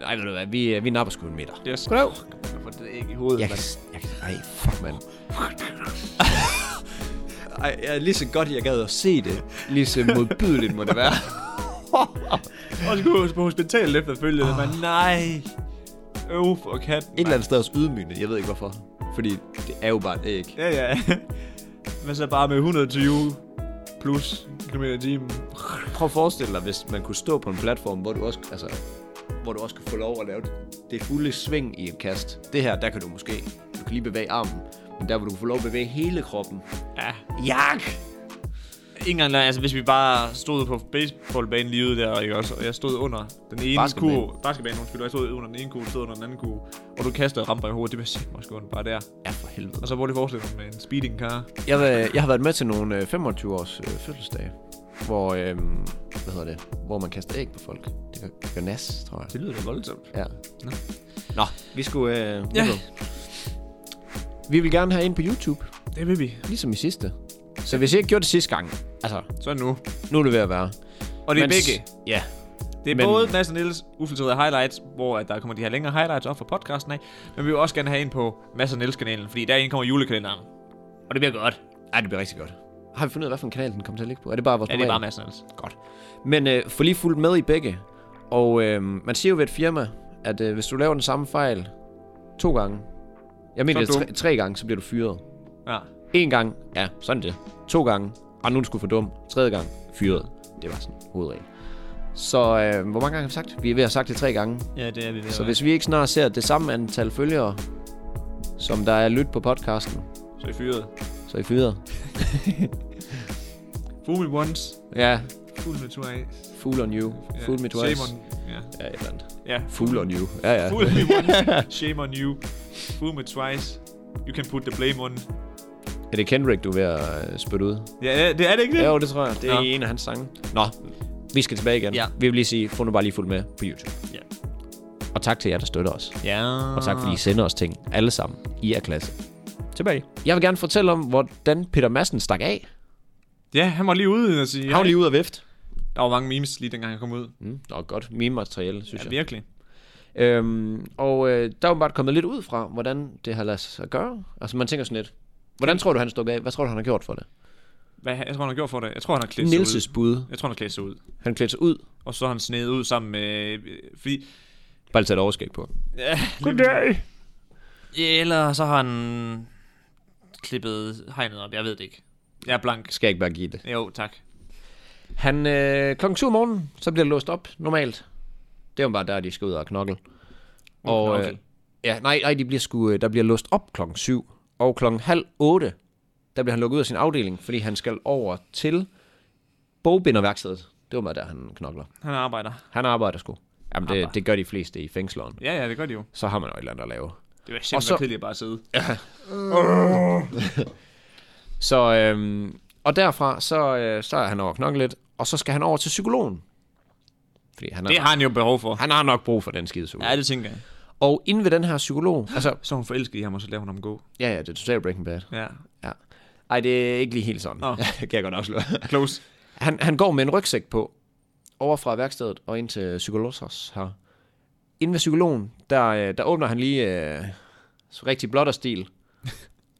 nej, ved du hvad, vi, vi napper sgu en meter. Yes. Goddag. Jeg får det æg i hovedet, Jeg yes. kan, mand. jeg kan, ej, fuck, mand. *laughs* Ej, jeg er lige så godt, jeg gad at se det. Lige så modbydeligt må det være. Og så gå på hospitalet efterfølgende, oh. mand. Nej. Øv for katten, Ah. Et eller andet sted også ydmygende, jeg ved ikke hvorfor. Fordi det er jo bare et æg. Ja, *laughs* ja. Men så bare med 120 plus km i timen. Prøv at forestille dig, hvis man kunne stå på en platform, hvor du også, altså, hvor du også kunne få lov at lave det fulde sving i et kast. Det her, der kan du måske, du kan lige bevæge armen, men der hvor du få lov at bevæge hele kroppen. Ja. Jak! Ikke engang, løgn, altså hvis vi bare stod på baseballbanen lige ude der, ikke også? Og jeg stod under den ene Basketball. kurv. Basketbanen, undskyld. og Jeg stod under den ene kurv, stod under den anden kurv. Og du kastede ramper i hovedet. Det var sikkert mig skående bare der. Ja, for helvede. Og så prøv lige at forestille dig med en speeding car. Jeg, har- jeg har været med til nogle øh, 25-års øh, fødselsdage, hvor, øh, hvad hedder det, hvor man kaster æg på folk. Det gør, det gør nas, tror jeg. Det lyder da voldsomt. Ja. Nå. Nå, vi skulle... Øh, Ja. Vi vil gerne have ind på YouTube, Det vil vi. ligesom i sidste. Så hvis I ikke gjorde det sidste gang, altså, Så nu. nu er det ved at være. Og det er Men s- begge. Ja. Det er Men- men... både Mads og Niels ufiltrerede highlights, hvor at der kommer de her længere highlights op fra podcasten af, men vi vil også gerne have en på Mads og Niels kanalen, fordi derinde kommer julekalenderen. Og det bliver godt. Ej, det bliver rigtig godt. Har vi fundet ud af, hvilken kanal den kommer til at ligge på? Er det bare vores Ja, det er bare normale? Mads og Niels. Godt. Men øh, få lige fuldt med i begge. Og øh, man siger jo ved et firma, at øh, hvis du laver den samme fejl to gange, jeg mener Så det er er du tre, tre gange, så bliver du fyret. Ja. En gang, ja, sådan det. To gange, og nu er du sgu for dum. Tredje gang, fyret. Det var sådan hovedregel. Så øh, hvor mange gange har vi sagt? Vi er ved at have sagt det tre gange. ja, det er vi ved. Så hvis vi ikke snart ser det samme antal følgere, som der er lyt på podcasten, Så er I fyret. så I fyder. Fool me once. Ja, Fool me twice. fool on you. Ja, Fool me twice. Shame on, ja. Ja, et eller andet. ja. Fool on you. Ja, ja. Fool me once. Shame on you. Fool me twice. You can put the blame on. Er det Kendrick, du er ved at øh, spytte ud? Ja, det er det ikke det? Ja, jo, det tror jeg. Det er Nå. i en af hans sange. Nå, vi skal tilbage igen. Ja. Vi vil lige sige, få nu bare lige fuldt med på YouTube. Ja. Og tak til jer, der støtter os. ja. Og tak, fordi I Ah. sender os ting. Alle sammen. I er klasse. Tilbage. Jeg vil gerne fortælle om, hvordan Peter Madsen stak af. Ja, han var lige ude og sige, Han var hej. lige ude af vift. Der var mange memes lige dengang han kom ud. Mm, det var godt meme-materiale, synes Ja, jeg. virkelig. Øhm, og øh, der er åbenbart kommet lidt ud fra, hvordan det har ladet sig gøre. Altså man tænker sådan lidt, hvordan tror du, han stod af? Hvad tror du, han har gjort for det? Hvad, jeg tror, han har gjort for det. Jeg tror, han har klædt sig ud. Nilses bud. Jeg tror, han har klædt sig ud. Han klædte sig ud, Og så har han snedet ud sammen med... øh, Fordi... bare lige tage et overskæg på. Ja, Goddag! eller så har han klippet hegnet op. Jeg ved det ikke. Jeg er blank. Skal jeg ikke bare give det. Jo, tak. Han, øh, klokken 7 om morgenen, så bliver det låst op, normalt. Det er jo bare der, de skal ud og knokle. Og, øh, knokle. ja, nej, nej, de bliver sku, øh, der bliver låst op klokken 7. Og klokken halv 8, der bliver han lukket ud af sin afdeling, fordi han skal over til bogbinderværkstedet. Det var bare der, han knokler. Han arbejder. Han arbejder sgu. Jamen, det, Arbejder. det gør de fleste i fængsleren. Ja, ja, det gør de jo. Så har man jo et eller andet at lave. Det var Og simpelthen så- så... kedeligt at bare sidde. Så, øhm, og derfra, så, øh, så er han over at knokle lidt, og så skal han over til psykologen. Fordi han, Det er, har han jo behov for. han har nok brug for den skide psykolog. Ja, det tænker jeg. Og inde ved den her psykolog, altså, Så er hun forelsket i ham, og så laver hun ham gå. ja, ja, det er totalt Breaking Bad. Ja. Ja. Ej, det er ikke lige helt sådan. *laughs* Nå. kan jeg godt afsløre. Close. Han, han går med en rygsæk på, over fra værkstedet og ind til psykologers her. Inden ved psykologen, der, øh, der åbner han lige øh, så rigtig blotter stil.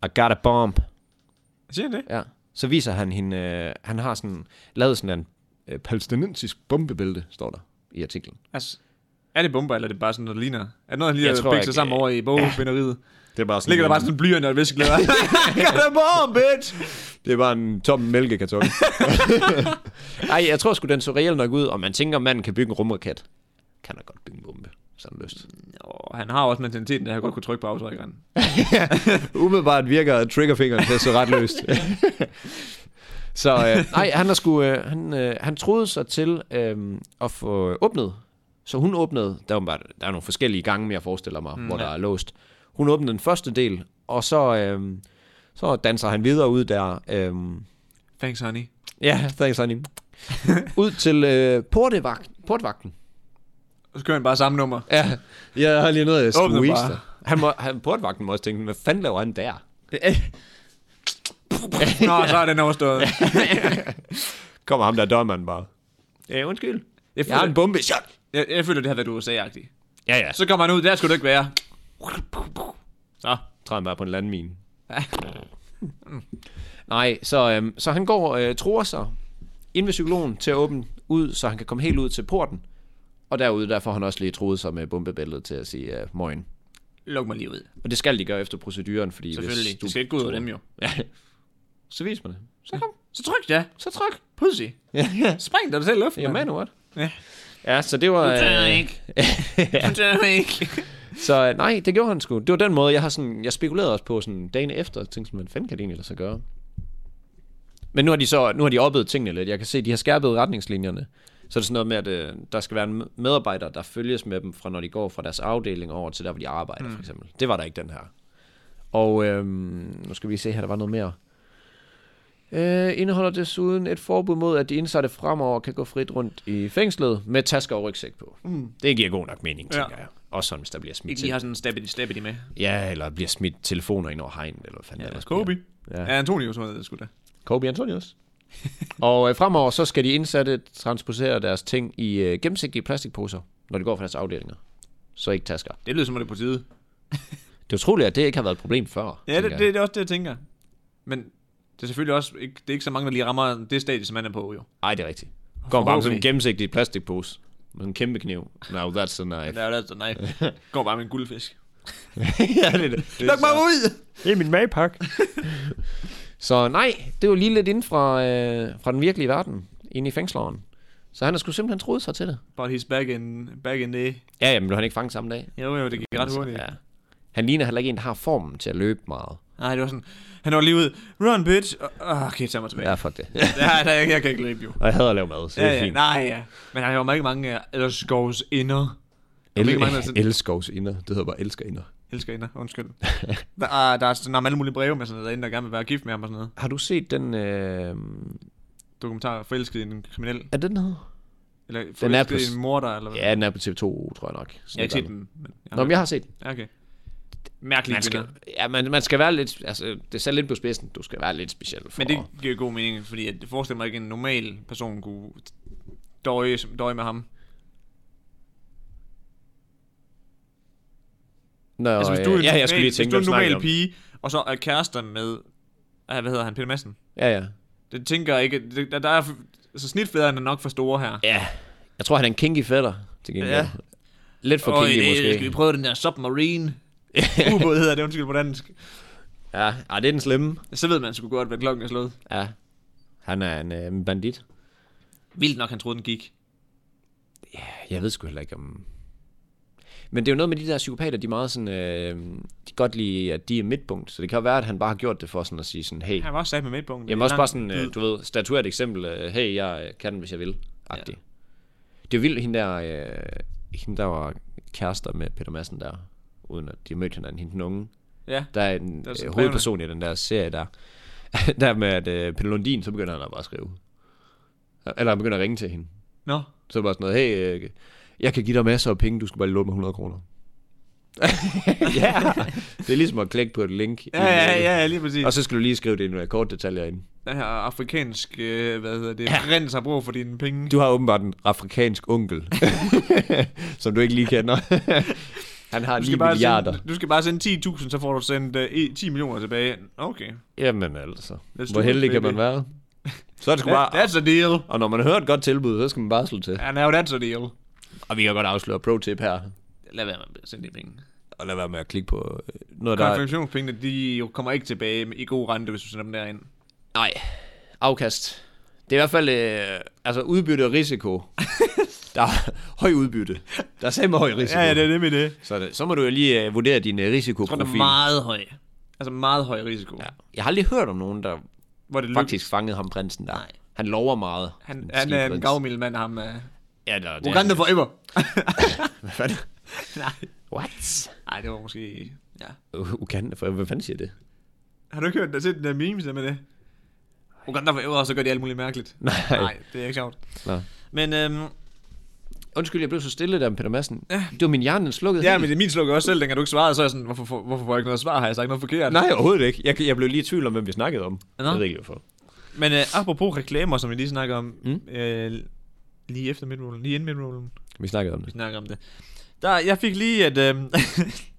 I got a bomb. Siger han det? Ja. Så viser han hende, øh, han har sådan, lavet sådan en øh, palæstinensisk bombebælte, står der i artiklen. Altså, er det bomber, eller er det bare sådan noget, der ligner? Er det noget, han lige Jeg tror har bækket sig ikke, sammen øh, over i bogbinderiet? Det er bare Ligger der bare sådan en blyant og *laughs* et viskelæder? Got a bomb, bitch! Det er bare en tom mælkekarton. *laughs* Nej, jeg tror sgu, den så reelt nok ud, og man tænker, manden kan bygge en rumraket. Kan han godt bygge en bombe, sådan lyst. Nå, han har også mentaliteten, der han godt kunne trykke på aftrækkeren. Umiddelbart virker triggerfingeren til så ret *laughs* løst. så øh, nej, han, har sgu, øh, han, øh, han troede sig til øh, at få åbnet. Så hun åbnede, der er, åbenbart- der er nogle forskellige gange, jeg forestiller mig, mm, hvor der ja. er låst. Hun åbnede den første del, og så, øh, så danser han videre ud der. Øh, Thanks, honey. Ja, thanks honey. *laughs* Ud til øh, portevagt, portvagten. Og så kører han bare samme nummer. Ja, jeg har lige noget at Åbne squeeze bare. dig. han, må, han, portvagten må også tænke, hvad fanden laver han der? Nå, så er den overstået. *laughs* Kommer ham der dørmanden bare. Ja, undskyld. Jeg Jeg har en føler, bombe. Shot. jeg, jeg føler det har været USA-agtigt. Ja, ja. Så Så kommer han ud, der skulle du ikke være. Så. træder han bare på en landmine. *laughs* Nej, så, øhm, så han går øh, tror sig ind ved psykologen til at åbne ud, så han kan komme helt ud til porten. Og derude, der får han også lige troet sig med bombebæltet til at sige øh, morgen. Luk mig lige ud. Og det skal de gøre efter proceduren, fordi hvis Selvfølgelig. du Du skal ikke gå ud af tror- dem jo. Ja. Så vis mig det. Så kom. *laughs* Så tryk da. Så tryk. Pussy. Ja, ja. Spring dig selv i luften. Ja, man, what? Ja. Ja, så det var... Du dør Øh, *laughs* ikke. Du dør ikke. så øh, nej, det gjorde han sgu. Det var den måde, jeg har sådan... Jeg spekulerede også på sådan dagen efter, og tænkte sådan, hvad fanden kan det egentlig lade sig gøre? Men nu har de så nu har de oppet tingene lidt. Jeg kan se, de har skærpet retningslinjerne. Så er det sådan noget med, at øh, der skal være en me- medarbejder, der følges med dem, fra når de går fra deres afdeling over til der, hvor de arbejder, mm. for eksempel. Det var der ikke den her. Og øhm, nu skal vi se her, der var noget mere. Øh, indeholder desuden et forbud mod, at de indsatte fremover kan gå frit rundt i fængslet med tasker og rygsæk på. Mm. Det giver god nok mening, Ja. tænker jeg. Også sådan, hvis der bliver smidt Ikke lige til. har sådan en stabity stabity med. Ja, eller bliver smidt telefoner ind over hegnet, eller hvad fanden ja, ellers bliver. Kobe. Ja. Ja, Antonius var det sgu da. Kobe Antonius. *laughs* og øh, fremover så skal de indsatte transportere deres ting i øh, gennemsigtige plastikposer, når de går fra deres afdelinger. Så ikke tasker. Det lyder som om det er på tide. Det er utroligt, at det ikke har været et problem før. Ja, tænker det, jeg. det, det, er også det, jeg tænker. Men det er selvfølgelig også ikke, det er ikke så mange, der lige rammer det stadie, som han er på, jo. Ej, det er rigtigt. Går bare med sådan en Forhåbentlig. gennemsigtig plastikpose. Med en kæmpe kniv. Now that's a Men knife. *laughs* der er jo *laughs* altså, nej. Går bare med en guldfisk. ja, det er det. Luk mig ud! Det er min magepakke. *laughs* så nej, det var lige lidt inden fra, øh, fra den virkelige verden. Inde i fængsleren. Så han har sgu simpelthen troet sig til det. But he's back in, back in the... Ja, jamen blev han ikke fanget samme dag. Jo, jo, det gik ret hurtigt. Ja. Han ligner heller ikke en, der har formen til at løbe meget. Nej, det var sådan, han var lige ud, run bitch, Åh, okay, tag mig tilbage. Ja, Ja. fuck det. *laughs* Ja, jeg, jeg kan ikke løbe jo. Og jeg hader at lave mad, så det er Ja, ja, fint. nej, ja. Men han har jo ikke mange uh, elskovs inder. El- ikke altså. mange, der sådan- elskovs inder. Det hedder bare elsker inder. Elsker inder, *laughs* undskyld. der, er, der er sådan om alle mulige breve med sådan noget, derinde, der gerne vil være gift med ham og sådan noget. Har du set den... Øh... Dokumentar forelsket i en kriminel. Er det den hedder? Eller Den er forelsket på s- i en morder, eller hvad? Ja, den er på TV2, tror jeg nok. Sådan jeg har ikke et set eller andet. den. Men, ja, Nå, men jeg har set den. ja, okay. Mærkelige Man skal, kvinder. ja, man, man skal være lidt... Altså, det er sat lidt på spidsen. Du skal være lidt speciel for... Men det giver god mening, fordi jeg forestiller mig ikke, at en normal person kunne døje, døje med ham. Nå, øh, Altså, hvis du er ja, en ja, jeg skulle normal, lige tænke, hvis du er hvem snakker en normal pige, og så er kærester med, ah, hvad hedder han, Peter Madsen? vi om? Ja, ja. Det tænker jeg ikke, det, der, der er, så snitfladerne er nok for store her. Ja. Jeg tror, han er en kinky fætter, til gengæld. Ja. Ja. Lidt for Øj, kinky, øh, måske. Skal vi prøve den der *laughs* submarine? Ubåd hedder det, undskyld på dansk. Ja, ah, det er den slemme. Så ved man sgu godt, hvad klokken er slået. Ja. Han er en øh, bandit. Vildt nok, han troede, den gik. Jeg ved sgu heller ikke om... Men det er jo noget med de der psykopater, de er meget sådan... Øh, de kan godt lide, at de er midtpunkt. Så det kan jo være, at han bare har gjort det for sådan at sige sådan, hey... Han var også sat med midtpunkten. Jamen også Lang bare sådan, tid. øh, du ved, statuere et eksempel. Øh, hey, jeg øh, kan den, hvis jeg vil. Agtig. Det er jo vildt, hende der, øh, hende der var kærester med Peter Madsen der, uden at de mødte hinanden, hende den unge. Ja. Der er en Der der er sådan er hovedperson i den der serie der. *laughs* der med, at øh, Peter Lundin, så begynder han at bare skrive. Eller han begynder at ringe til hende. Nå. Så er det bare sådan noget, hey, øh, jeg kan give dig masser af penge, du skal bare lige låne mig 100 *laughs* kroner. *laughs* ja, det er ligesom at klikke på et link. i Ja, en ja, mail. ja, ja, lige præcis. Og så skal du lige skrive dine øh, kortdetaljer ind. Den her afrikansk, øh, hvad hedder det, prins har brug for dine penge. Du har åbenbart en afrikansk onkel, *laughs* som du ikke lige *laughs* kender. Han har 9 milliarder. Sende, du skal bare sende 10.000, så får du sendt øh, e- 10 millioner tilbage. Okay. Jamen altså, hvor do it, heldig kan baby. man være? Så er det sgu That, bare... that's a deal. Og når man hører et godt tilbud, så skal man bare slå til. Ja, now that's a deal. Og vi kan godt afsløre pro-tip her. Lad være med at sende de penge. Og lad være med at klikke på øh, noget, der... er- Konfirmationspengene, de jo kommer ikke tilbage med- i god rente, hvis du sender dem derind. Nej, afkast. Det er i hvert fald... Øh, altså, udbytte og *laughs* risiko. der er høj udbytte. Der er samme høj risiko. er nemlig det. Så, er det- så må du jo lige øh, vurdere din øh, Jeg tror, risikoprofil. den er meget høj. Altså meget høj risiko. Ja. ja. Jeg har aldrig hørt om nogen, der Hvor det lykkes. faktisk fangede ham prinsen der. Nej. Han lover meget. Han, Den han skide er en prins. gavmild mand, ham. Uh, Ja, der, det Uganda forever. Hvad *laughs* fanden? Nej. What? Nej, det var måske... Ja. U- Uganda for Hvad fanden siger det? Har du ikke hørt, der set den der memes der med det? Uganda forever, og så gør de alt muligt mærkeligt. Nej. *laughs* Nej, det er ikke sjovt. Nå. Men øhm, Undskyld, jeg blev så stille der med Peter Madsen. Det var min hjerne, den slukkede ja, helt. men det min slukker også selv, dengang du ikke svarede, så er jeg sådan, hvorfor, hvorfor får jeg ikke noget svar? Har jeg sagt noget forkert? Nej, overhovedet ikke. Jeg, jeg blev lige i tvivl om, hvem vi snakkede om. Nå. Jeg ved ikke, hvorfor. Men øh, apropos reklamer, som vi lige snakker om, Mm. mm. øh, lige efter midtrollen, lige inden midtrollen, Vi snakkede om vi det. snakker om det. Der, jeg fik lige, at... Øh, *laughs*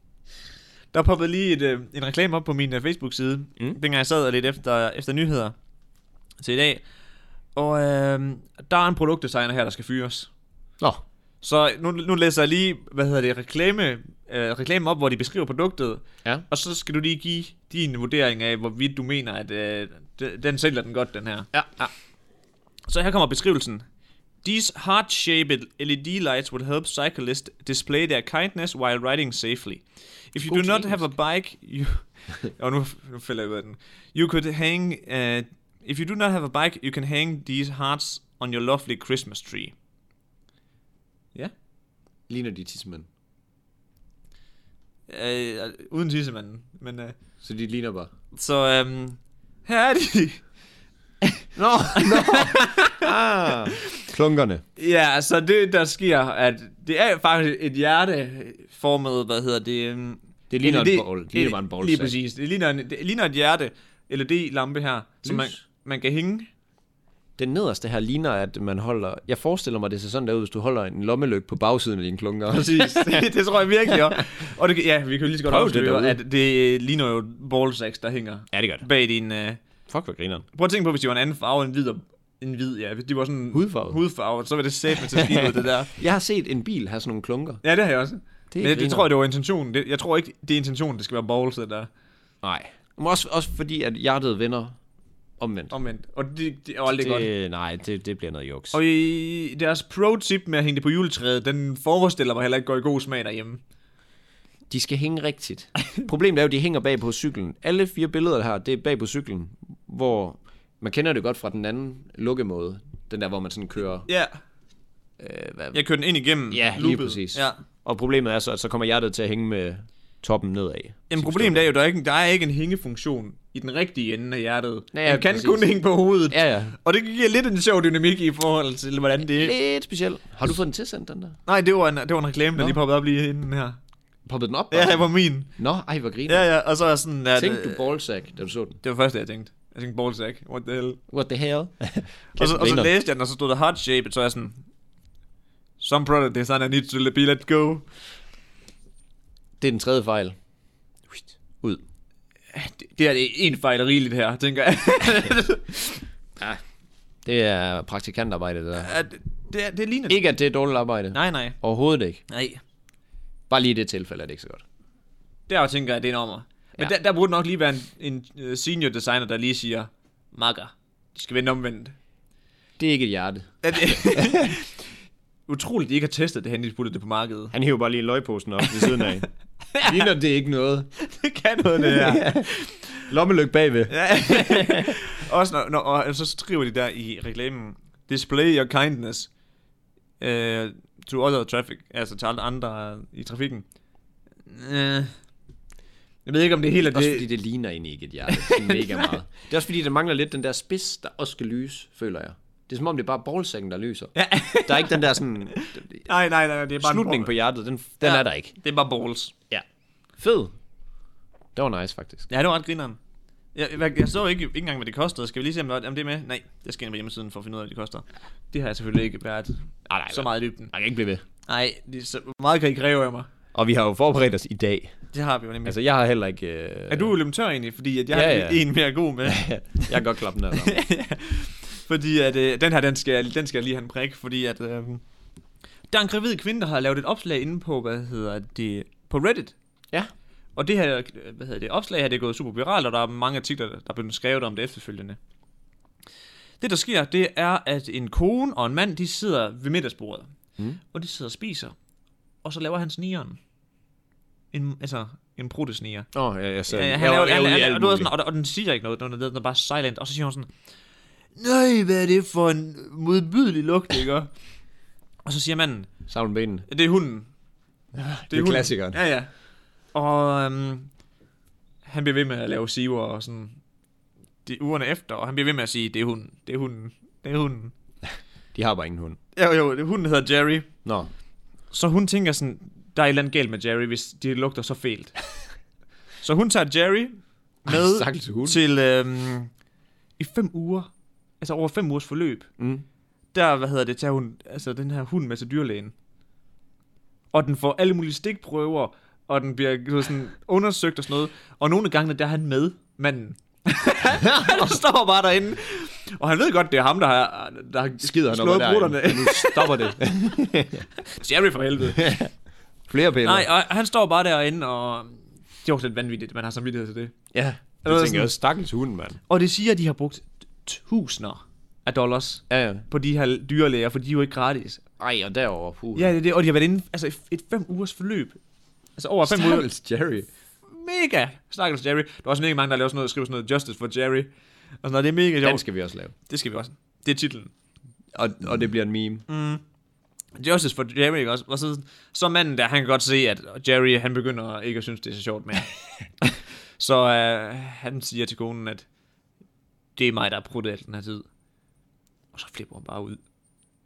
der poppede lige et, øh, en reklame op på min øh, Facebook-side, Mm. mm. dengang jeg sad og lidt efter, efter nyheder til i dag. Og øh, der er en produktdesigner her, der skal fyres. Nå. Så nu, nu læser jeg lige, hvad hedder det, reklame, øh, reklamen op, hvor de beskriver produktet. Ja. Og så skal du lige give din vurdering af, hvorvidt du mener, at øh, de- den sælger den godt, den her. Ja, ja. Så her kommer beskrivelsen. These heart-shaped LED lights will help cyclists display their kindness while riding safely. If you God do not til have a bike, you *laughs* og nu, nu falder jeg ud af den. You could hang uh, if you do not have a bike, you can hang these hearts on your lovely Christmas tree. Ja. Ligner de tissemænd. Yeah. Uh, uden tissemanden, men uh, Så de ligner bare. så um, her er de. *laughs* Nå, nå. ah. Klunkerne. *laughs* Ja, så det der sker, at det er faktisk et hjerteformet, hvad hedder det? øhm, Det ligner en LED bowl. Det ligner bare en bowl, Lige så. præcis. Det ligner, en, det ligner et hjerte LED-lampe her, som man, Lys. man kan *laughs* hænge. Den nederste her ligner, at man holder... Jeg forestiller mig, det ser sådan der ud, hvis du holder en lommelygte på bagsiden af dine klunker. Præcis. *laughs* det tror jeg virkelig også. Og det, kan- ja, vi kan jo lige så godt Prøv det afsløre, derude. at det øh, ligner jo ballsacks, der hænger Ja, det gør det. bag din... Øh, Fuck, hvor grineren. Prøv at tænke på, hvis de var en anden farve end hvid, og- end hvid ja. Hvis de var sådan Hudfarvet. hudfarve så var det sæt med til at skide ud, det *laughs* der. Jeg har set en bil have sådan nogle klunker. Ja, det har jeg også. Det Men jeg, griner. det tror jeg, det var intentionen. Det, jeg tror ikke, det er intentionen, det skal være balls, det der. Nej. Men også, også fordi, at hjertet vender omvendt. Omvendt. Og det, det er jo aldrig det... godt. det, nej, det, det bliver noget juks. Og i deres pro-tip med at hænge det på juletræet, den forestiller mig heller ikke går i god smag derhjemme. De skal hænge rigtigt. Problemet er jo, at de hænger bag på cyklen. Alle fire billeder her, det er bag på cyklen, hvor man kender det godt fra den anden lukkemåde. Den der, hvor man sådan kører... Ja, Øh, hvad, jeg kører den ind igennem Ja, lige loopet. præcis. Ja. Og problemet er så, at så kommer hjertet til at hænge med toppen nedad. Jamen problemet er jo, der er ikke, der er ikke en hængefunktion i den rigtige ende af hjertet. Ja, Ja, den kan præcis. kun hænge på hovedet. Ja, ja. Og det giver lidt en sjov dynamik i forhold til, hvordan det er. Lidt speciel. Har du fået den tilsendt, den der? Nej, det var en, det var en reklame, der Nå. lige poppede op lige inden her. Poppet den op? Ja, bare? det var min. Nå, ej, hvor griner. Ja, Ja, ja, og så er jeg sådan, at... Tænkte øh, du ballsack, da du så den? Det var første, jeg tænkte. Jeg tænkte ballsack. What the hell? What the hell? *laughs* Og så, og så Grineren. læste jeg den, og så stod der heart shape, så er jeg sådan... Some product design I need to let- be let go. Det er den tredje fejl. Ud. Det, det er en fejl er rigeligt her, tænker jeg. Det er praktikantarbejde, det der. *laughs* Ja, det, det, er- det ligner det. Ikke at det er dårligt arbejde. Nej, nej. Overhovedet ikke. Nej. Bare lige i det tilfælde er det ikke så godt. Der tænker jeg, det er en ommer. Men Ja. ja. der, der burde nok lige være en, en øh, senior designer, der lige siger, makker, de skal vende omvendt. Det er ikke et hjerte. Er det- *laughs* Utroligt, de ikke har testet det, hen de puttede det på markedet. Han hiver bare lige løgposen op ved siden af. *laughs* Ligner det ikke noget? det kan noget, det her. *laughs* Lommelyk bagved. Ja. *laughs* Også når, når, og så skriver de der i reklamen, display your kindness uh, to other traffic, altså til alle andre i trafikken. Uh, jeg ved ikke, om det hele er Også fordi det. det ligner egentlig ikke et hjerte sådan mega meget. *laughs* Det er også fordi, der mangler lidt den der spids, der også skal lyse, føler jeg. Det er som om, det er bare ballsacken, der lyser. Ja. Der er ikke den der *laughs* sådan... nej, nej, nej, det er bare en Slutningen på ball. hjertet, den, den Ja. er der ikke. Det er bare balls. Ja. Fed. Det var nice, faktisk. Ja, det var ret grineren. Jeg, jeg, jeg så ikke, ikke engang, hvad det kostede. Skal vi lige se, om, der- om det er med? Nej, jeg skal ind på hjemmesiden for at finde ud af, hvad det koster. Det har jeg selvfølgelig ikke været Nej, Ah, nej, så meget i dybden. Jeg kan ikke blive ved. Nej, det, er så hvor meget kan I kræve af mig? Og vi har jo forberedt os i dag. Det har vi jo nemlig. Altså, jeg har heller ikke... Øh... Er du løbet tør egentlig? Fordi at jeg Ja, ja, ja. har en mere god med. øh, *laughs* jeg kan godt klappe den *laughs* her. sammen. fordi at øh, den her, den skal, jeg- den skal jeg lige have en prik, fordi at... Øh, der er en gravid kvinde, der har lavet et opslag inde på, hvad hedder det, på Reddit. Ja. Og det her, øh, hvad hedder det, opslag her, det er gået super viralt, og der er mange artikler, der er blevet skrevet om det efterfølgende. Det, der sker, det er, at en kone og en mand, de sidder ved middagsbordet. Mm. Og de sidder og spiser. Og så laver han snigeren. En, altså, en protesniger. Nå, oh, jeg, jeg, Ja, jeg, ja, jeg, han jeg, laver, jeg, han, jeg, han, jeg, og, du ved sådan, og, og den siger ikke noget, den er, den er bare silent, og så siger hun sådan, nej, hvad er det for en modbydelig lugt, ikke? *laughs* og så siger manden, Savn benen. det er hunden. det er hunden." klassikeren. Ja, ja. Og øhm, han bliver ved med at lave siver og sådan, de ugerne efter, og han bliver ved med at sige, det er hunden, det er hunden, det er hunden. De har bare ingen hund. Jo, jo, det- hunden hedder Jerry. Nå. Så hun tænker sådan, der er et eller andet galt med Jerry, hvis de lugter så *laughs* fælt. så hun tager Jerry med Stakkels hund. til øhm, i fem uger, altså over fem ugers forløb, Mm. der, hvad hedder det, tager hun, altså den her hund med til dyrlægen. Og den får alle mulige stikprøver, og den bliver du ved, sådan, undersøgt og sådan noget. Og nogle af gangene, der er han med, manden. *laughs* han står bare derinde. Og han ved godt, det er ham, der har, der har Skider han slået op ad *laughs* brutterne. derinde. Nu stopper det. Jerry for helvede. Flere piller. *laughs* Nej, og han står bare derinde, og det er også lidt vanvittigt, man har samvittighed til det. Ja. ved Det tænker sådan- jeg også. Stakkels hund, mand. Og det siger, at de har brugt tusinder af dollars Ja, ja. på de her dyrlæger, for de er jo ikke gratis. Ej, og derovre. Puh. Ja, det er det, og de har været inde altså et- et fem ugers forløb. Altså over fem uger. Stakkels Jerry. Mega! Stakkels Jerry. Der er også mega mange, der laver sådan noget, skriver sådan noget Justice for Jerry. Og sådan noget, det er mega Den sjovt. skal vi også lave. Det skal vi også. Det er titlen. Og, og det bliver en meme. Justice for Jerry, ikke også? Og så, så manden der, han kan godt se, at Jerry, han begynder ikke at synes, det er så sjovt *laughs* med. så øh, han siger til konen, at det er mig, der har pruttet alt den her tid. Og så flipper hun bare ud.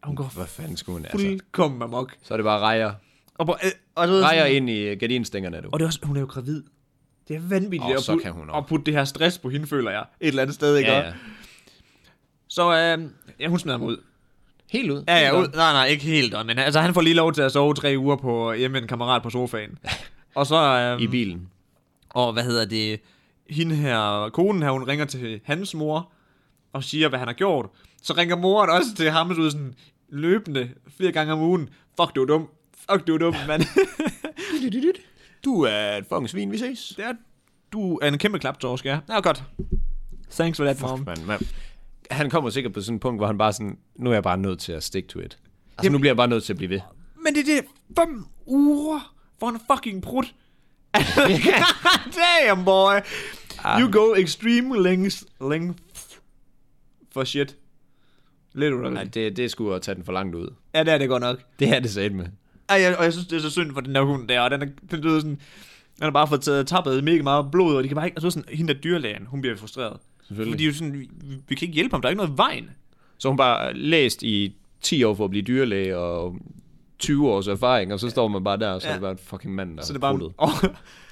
Og hun går Hvad fanden skulle hun altså? fuldkommen amok. Så er det bare rejer. Og, på, øh, og, så, Rejer ind i øh, gardinstængerne, du. og det er også, hun er jo gravid. Det er vanvittigt Åh, at, så putte- kan hun også. at putte det her stress på hende, føler jeg. Et eller andet sted, ikke? Ja, også? ja. Så øh, ja, hun smider ham ud. Helt ud. Ja, Helt ja, ud. Nej, nej, ikke helt. Men altså, han får lige lov til at sove tre uger på hjemme med en kammerat på sofaen. *laughs* og så... Øhm, I bilen. Og hvad hedder det? Hende her, konen her, hun ringer til hans mor og siger, hvad han har gjort. Så ringer moren også til ham så sådan løbende flere gange om ugen. Fuck, du er dum. Fuck, du er dum, mand. Du er et fucking svin, vi ses. *laughs* det er, du er en kæmpe klaptorsk, ja. Ja, godt. Thanks for that, mom. Man, man. Han kommer sikkert på sådan et punkt, hvor han bare sådan, nu er jeg bare nødt til at stick to it. Altså, nu bliver jeg bare nødt til at blive ved. Men det er det fem uger for en fucking brud. *laughs* Damn, boy. Ah. You go extreme length, length for shit. Literally. Nej, det, det skulle at tage den for langt ud. Ja, det er det godt nok. Det er det sæt med. Ej, jeg, og jeg synes, det er så synd for den der hund der, og den er, den lyder sådan... Den har bare fået taget tappet mega meget blod, og de kan bare ikke... Altså sådan, hende der dyrlægen, hun bliver frustreret. Selvfølgelig. Fordi jo sådan, vi, vi, kan ikke hjælpe ham, der er ikke noget i vejen. Så hun bare læst i 10 år for at blive dyrlæge og 20 års erfaring, og så står man bare der, og så ja. er det bare en fucking mand, der Så det er bare... pruttet. Og,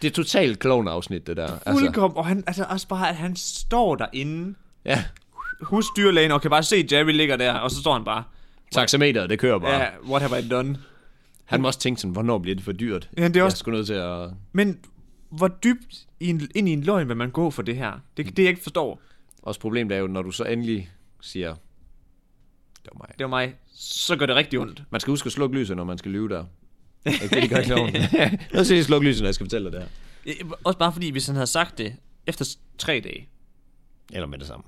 Det er totalt klovn-afsnit, det der. Altså, fuldkom, og han, altså også bare, at han står derinde, ja, husdyrlægen, og kan bare se, Jerry ligger der, og så står han bare, taxameteret, det kører bare. ja, Ja. yeah, what have I done? Han må også tænke sådan, hvornår bliver det for dyrt? Ja, det er Jeg er også- sgu nødt til at... Men hvor dybt i en, ind i en løgn vil man gå for det her? Det det, jeg ikke forstår. Også problemet er jo, når du så endelig siger, det var mig. Det var mig. Så gør det rigtig ondt. Man skal huske at slukke lyset, når man skal lyve der. Ikke det, de gør *laughs* kloven. *laughs* Lad os se, slukke lyset, når jeg skal fortælle dig det her. Ja, Også bare fordi, hvis han havde sagt det efter s- tre dage. Eller med det samme.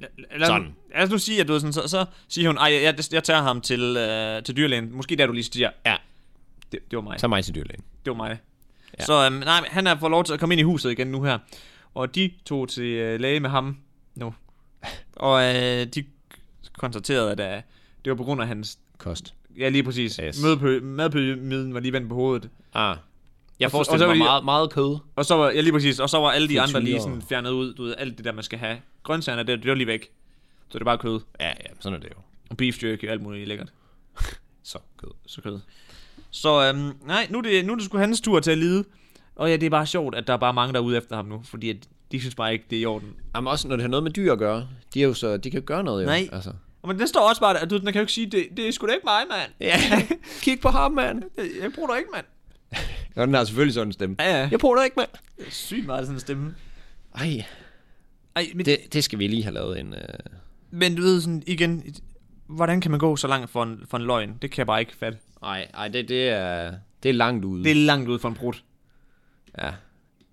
Lad, lad, Sådan. Lad os nu sige, at du ved sådan, så, så siger hun, ej, jeg, jeg, jeg tager ham til, øh, til dyrlægen. Måske der du lige siger, Ja. det, det var mig. Tag mig til dyrlægen. Det var mig. Ja. Så øhm, nej, men han har fået lov til at komme ind i huset igen nu her. Og de tog til øh, læge med ham *laughs* nu. Og øh, de konstaterede, at øh, det var på grund af hans... Kost. Ja, lige præcis. Yes. Yes. Madpyramiden var lige vendt på hovedet. Ah. Jeg og forestiller så mig vil jeg- meget, meget kød. Og så var, ja, lige præcis, og så var alle de andre lige Friturer. sådan fjernet ud. Du ved, alt det der, man skal have. Grøntsagerne, det, det var lige væk. Så det er bare kød. Ja, ja, sådan er det jo. Og beef jerky og alt muligt lækkert. Så kød. Så kød. Så øhm, nej, nu er, det, nu er det sgu hans tur til at lide. Og ja, det er bare sjovt, at der er bare mange, der er ude efter ham nu. Fordi at de synes bare ikke, det er i orden. Jamen også, når det har noget med dyr at gøre, de, er jo så, de kan jo gøre noget jo. Nej. Altså. Men det står også bare der, du, den kan jo ikke sige, det, det er sgu da ikke mig, mand. *laughs* Ja, kig på ham, mand. Jeg, jeg bruger dig ikke, mand. Og den har selvfølgelig sådan en stemme. Ja, ja. Jeg bruger dig ikke, mand. Det er sygt meget sådan en stemme. Ej, Ej, men, det... det, det skal vi lige have lavet en... Øh... men du ved sådan, igen, hvordan kan man gå så langt for en, for en løgn? Det kan jeg bare ikke fatte. Ej, ej det, det, er, det er langt ude. Det er langt ud for en brud. Ja.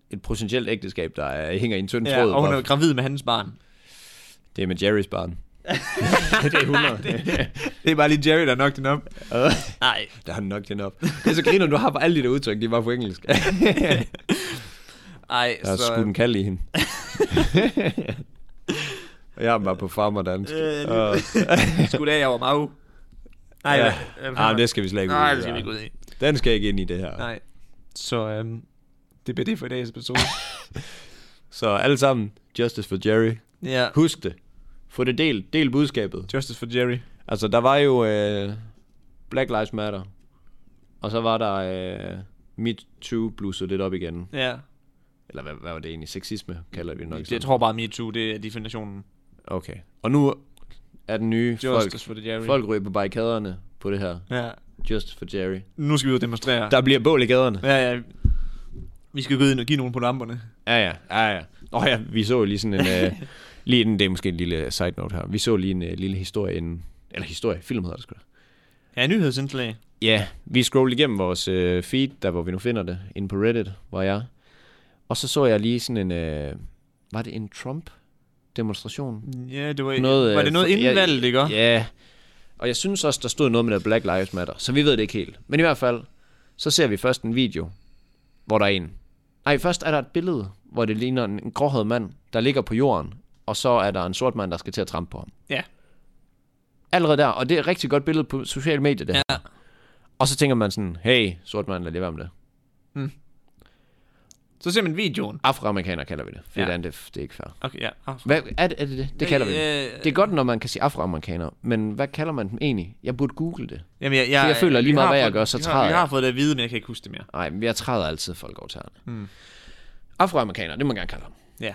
Et potentielt ægteskab, der er, hænger i en tynd Ja, tråd. og hun bare- er gravid med hans *laughs* barn. Det er med Jerrys *laughs* barn. *laughs* det er 100. Det er bare lige Jerry, der nok den *laughs* op. Nej. der har nok den op. Det er så griner, du har bare alle de der udtryk, de er bare på *laughs* engelsk. Ej, Der er så... *laughs* skudt en kald i hende. Og jeg er bare på farmerdansk. Øh, Og- *laughs* Skulle da, jeg var meget... Nej, Ja. hvad- hvad- Ah, det skal vi slet ikke ud Nej, i, det skal ja. vi ikke ud i. Den skal ikke ind i det her. Nej. Så øhm, det bliver det for i dagens episode. Så alle sammen, justice for Jerry. *laughs* ja. Husk det. Få det delt. Del budskabet. Justice for Jerry. Altså, der var jo øh, Black Lives Matter. Og så var der øh, Mit Too blussede lidt op igen. Ja. Eller hvad, hvad var det egentlig? Sexisme kalder vi det nok. Det, sådan. jeg tror bare, MeToo, det er definitionen. Okay. Og nu er den nye folk, Justice for the Jerry. folk ryger på barrikaderne på det her. Ja. Just for Jerry. Nu skal vi ud og demonstrere. Der bliver bål i gaderne. Ja, ja. Vi skal gå ud og give nogen på lamperne. Ja, ja, ja, ja. Nå ja, vi så jo lige sådan en... øh, lige en, det er måske en lille øh, side note her. Vi så lige en øh, lille historie inden... Eller historie, film hedder det sgu da. Ja, nyhedsindslag. Ja, vi scrollede igennem vores øh, feed, der hvor vi nu finder det, inde på Reddit, hvor jeg er. Og så så jeg lige sådan en... Øh, var det en Trump-demonstration? Ja, det var, Noget, noget, var øh, det noget for- inden ja, valget, ikke? Ja. Ja, og jeg synes også, der stod noget med det Black Lives Matter, så vi ved det ikke helt. Men i hvert fald, så ser vi først en video, hvor der er en. Nej, først er der et billede, hvor det ligner en en gråhåret mand, der ligger på jorden, og så er der en sort mand, der skal til at trampe på ham. ja. Allerede der, og det er et rigtig godt billede på sociale medier, det her. Ja. Og så tænker man sådan, hey, sort mand, lad lige være med det. Så ser man videoen. Afroamerikaner kalder vi det, for Ja. ja. det, andet, det er ikke fair. Okay, ja. Ah, Hvad, er, det, er det det? Det kalder vi det. Øh, Det er godt, når man kan sige afroamerikaner, men hvad kalder man dem egentlig? Jeg burde google det. Jamen, jeg, jeg, Så jeg føler lige vi meget, har hvad jeg fået- gør, så vi har- træder Vi jeg. har fået det at vide, men jeg kan ikke huske det mere. Nej, men jeg træder altid folk over tæerne. Mm. Afroamerikanere, det må man gerne kalde dem. Ja.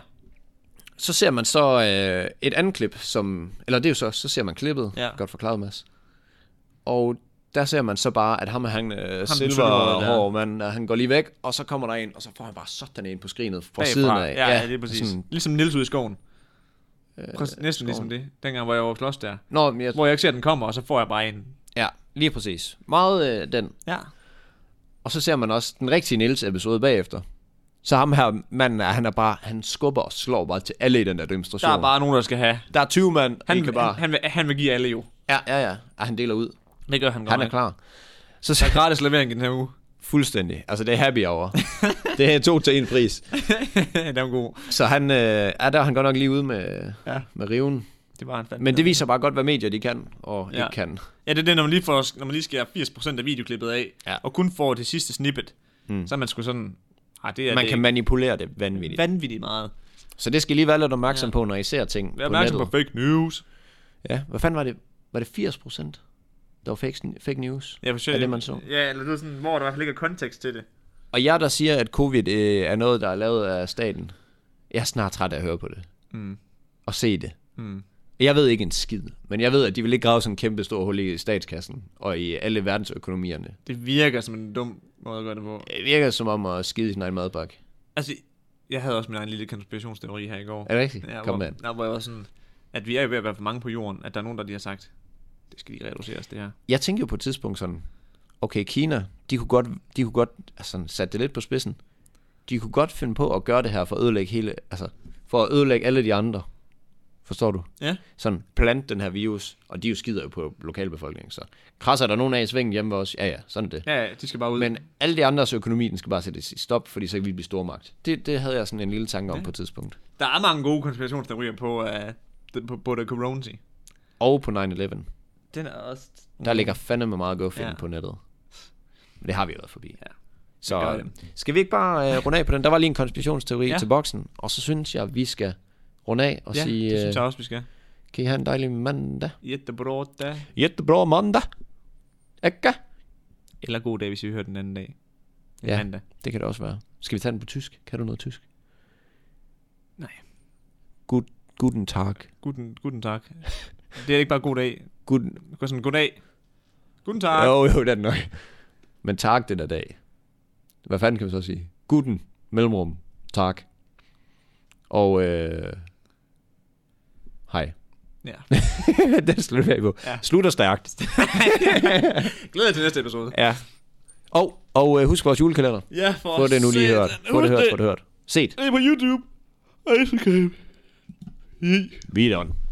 Så ser man så øh, et andet klip, som, eller det er jo så, så ser man klippet, Ja. godt forklaret Mads. Og der ser man så bare, at ham er han øh, sølvhårede der. silverhår, mand, og han går lige væk, og så kommer der en, og så får han bare sådan en på skrinet fra Bagfra. siden af. Ja, ja, det er præcis. Sådan, Sådan, ligesom Nils ude i skoven. Øh, Næsten ligesom det. Dengang, hvor jeg var klods der. Nå, men jeg, Hvor jeg ikke ser, at den kommer, og så får jeg bare en. ja, lige præcis. Meget øh, den. Ja. Og så ser man også den rigtige Niels episode bagefter. Så ham her manden, er- han er bare, han skubber og slår bare til alle i den der Der demonstration. er bare nogen, der skal have. der er 20 mand, Han, han kan bare... han, han, vil, han vil give alle jo. Ja, ja, ja. Ej, han deler ud. Det gør han godt. Han er klar. Så, Der så er gratis levering i den her uge. *laughs* Fuldstændig. Altså, det er happy *laughs* over. det er to til en pris. den var god. Så han, øh, ja, der er han godt nok lige ude med, Ja. ja. med riven. Det var han fandme. Men det viser bare godt, hvad medier de kan og Ja. ja. ikke kan. Ja, det er det, når man lige, får, når man lige skærer 80% af videoklippet af, Ja. Hmm. og kun får det sidste snippet, mm. så er man sgu sådan, ah, det er Man det kan manipulere det vanvittigt. ikke vanvittigt meget. Så det skal I lige være lidt opmærksom på, når I ser ting Vær på opmærksom nettet. på fake news. Ja, hvad fanden var det? Var det 80 procent? Der var fake, fake news. Ja, for Er det, man så? Ja, eller det er sådan, hvor der i hvert fald ikke er kontekst til det. Og jeg, der siger, at covid øh, er noget, der er lavet af staten. Jeg er snart træt af at høre på det. Mm. Og se det. Mm. Jeg ved ikke en skid, men jeg ved, at de vil ikke grave sådan en kæmpe stor hul i statskassen og i alle verdensøkonomierne. Det virker som en dum måde at gøre det på. Det virker som om at skide i sin egen madbakke. Altså, jeg havde også min egen lille konspirationsteori her i går. Er det rigtigt? Ja, Kom hvor, med den. ja, hvor jeg var sådan, at vi er ved at være for mange på jorden, at der er nogen, der lige har sagt, det skal lige reduceres, det her. Jeg tænker jo på et tidspunkt sådan, okay, Kina, de kunne godt, de kunne godt altså, sætte det lidt på spidsen. De kunne godt finde på at gøre det her for at ødelægge hele, altså, for at ødelægge alle de andre. Forstår du? Ja. sådan plante den her virus, og de jo skider jo på lokalbefolkningen, så krasser der nogen af i svingen hjemme ved os, ja ja, sådan er det. Ja, ja, de skal bare ud. Men alle de andres økonomi, den skal bare sættes i stop, fordi så kan vi blive stormagt. Det, det havde jeg sådan en lille tanke om ja. på et tidspunkt. Der er mange gode konspirationsteorier på, uh, den- på, på The Corona. Og på 9-11, der Den er også... ligger fandeme meget godt ja. Ja. på nettet. Men det har vi jo været forbi. Ja. Så gør øh, det. skal vi ikke bare øh, runde af på den? Der var lige en konspirationsteori Ja. ja. til boksen, og så synes jeg, vi skal runde af og Ja, sige, det øh, synes jeg også, vi skal. kan I have en dejlig mandag? Jättebra dag. Jättebra mandag! Ikke? Eller god dag, hvis vi hører den anden dag. Ja. Ja. Mandag. Det kan det også være. Skal vi tage den på tysk? Kan du noget tysk? Nej. Gut, guten Tag. Guten, guten tak. Det er ikke bare god dag. Guten, Du kan sådan, god dag. Guten tak. jo, jo, det er det nok. Men Tag den der dag. Hvad fanden kan man så sige? Guten, mellemrum, Tag. Og øh, hej. *laughs* Ja. den slutter vi af på. Ja. Ja. Slutter stærkt. Glæder jer til *laughs* næste episode. ja. Og, og øh, husk vores julekalender. Ja, for Få det nu lige hørt. Få det hørt, få det hørt. Set. Det er på YouTube. Ej, så kan jeg. Vi er done.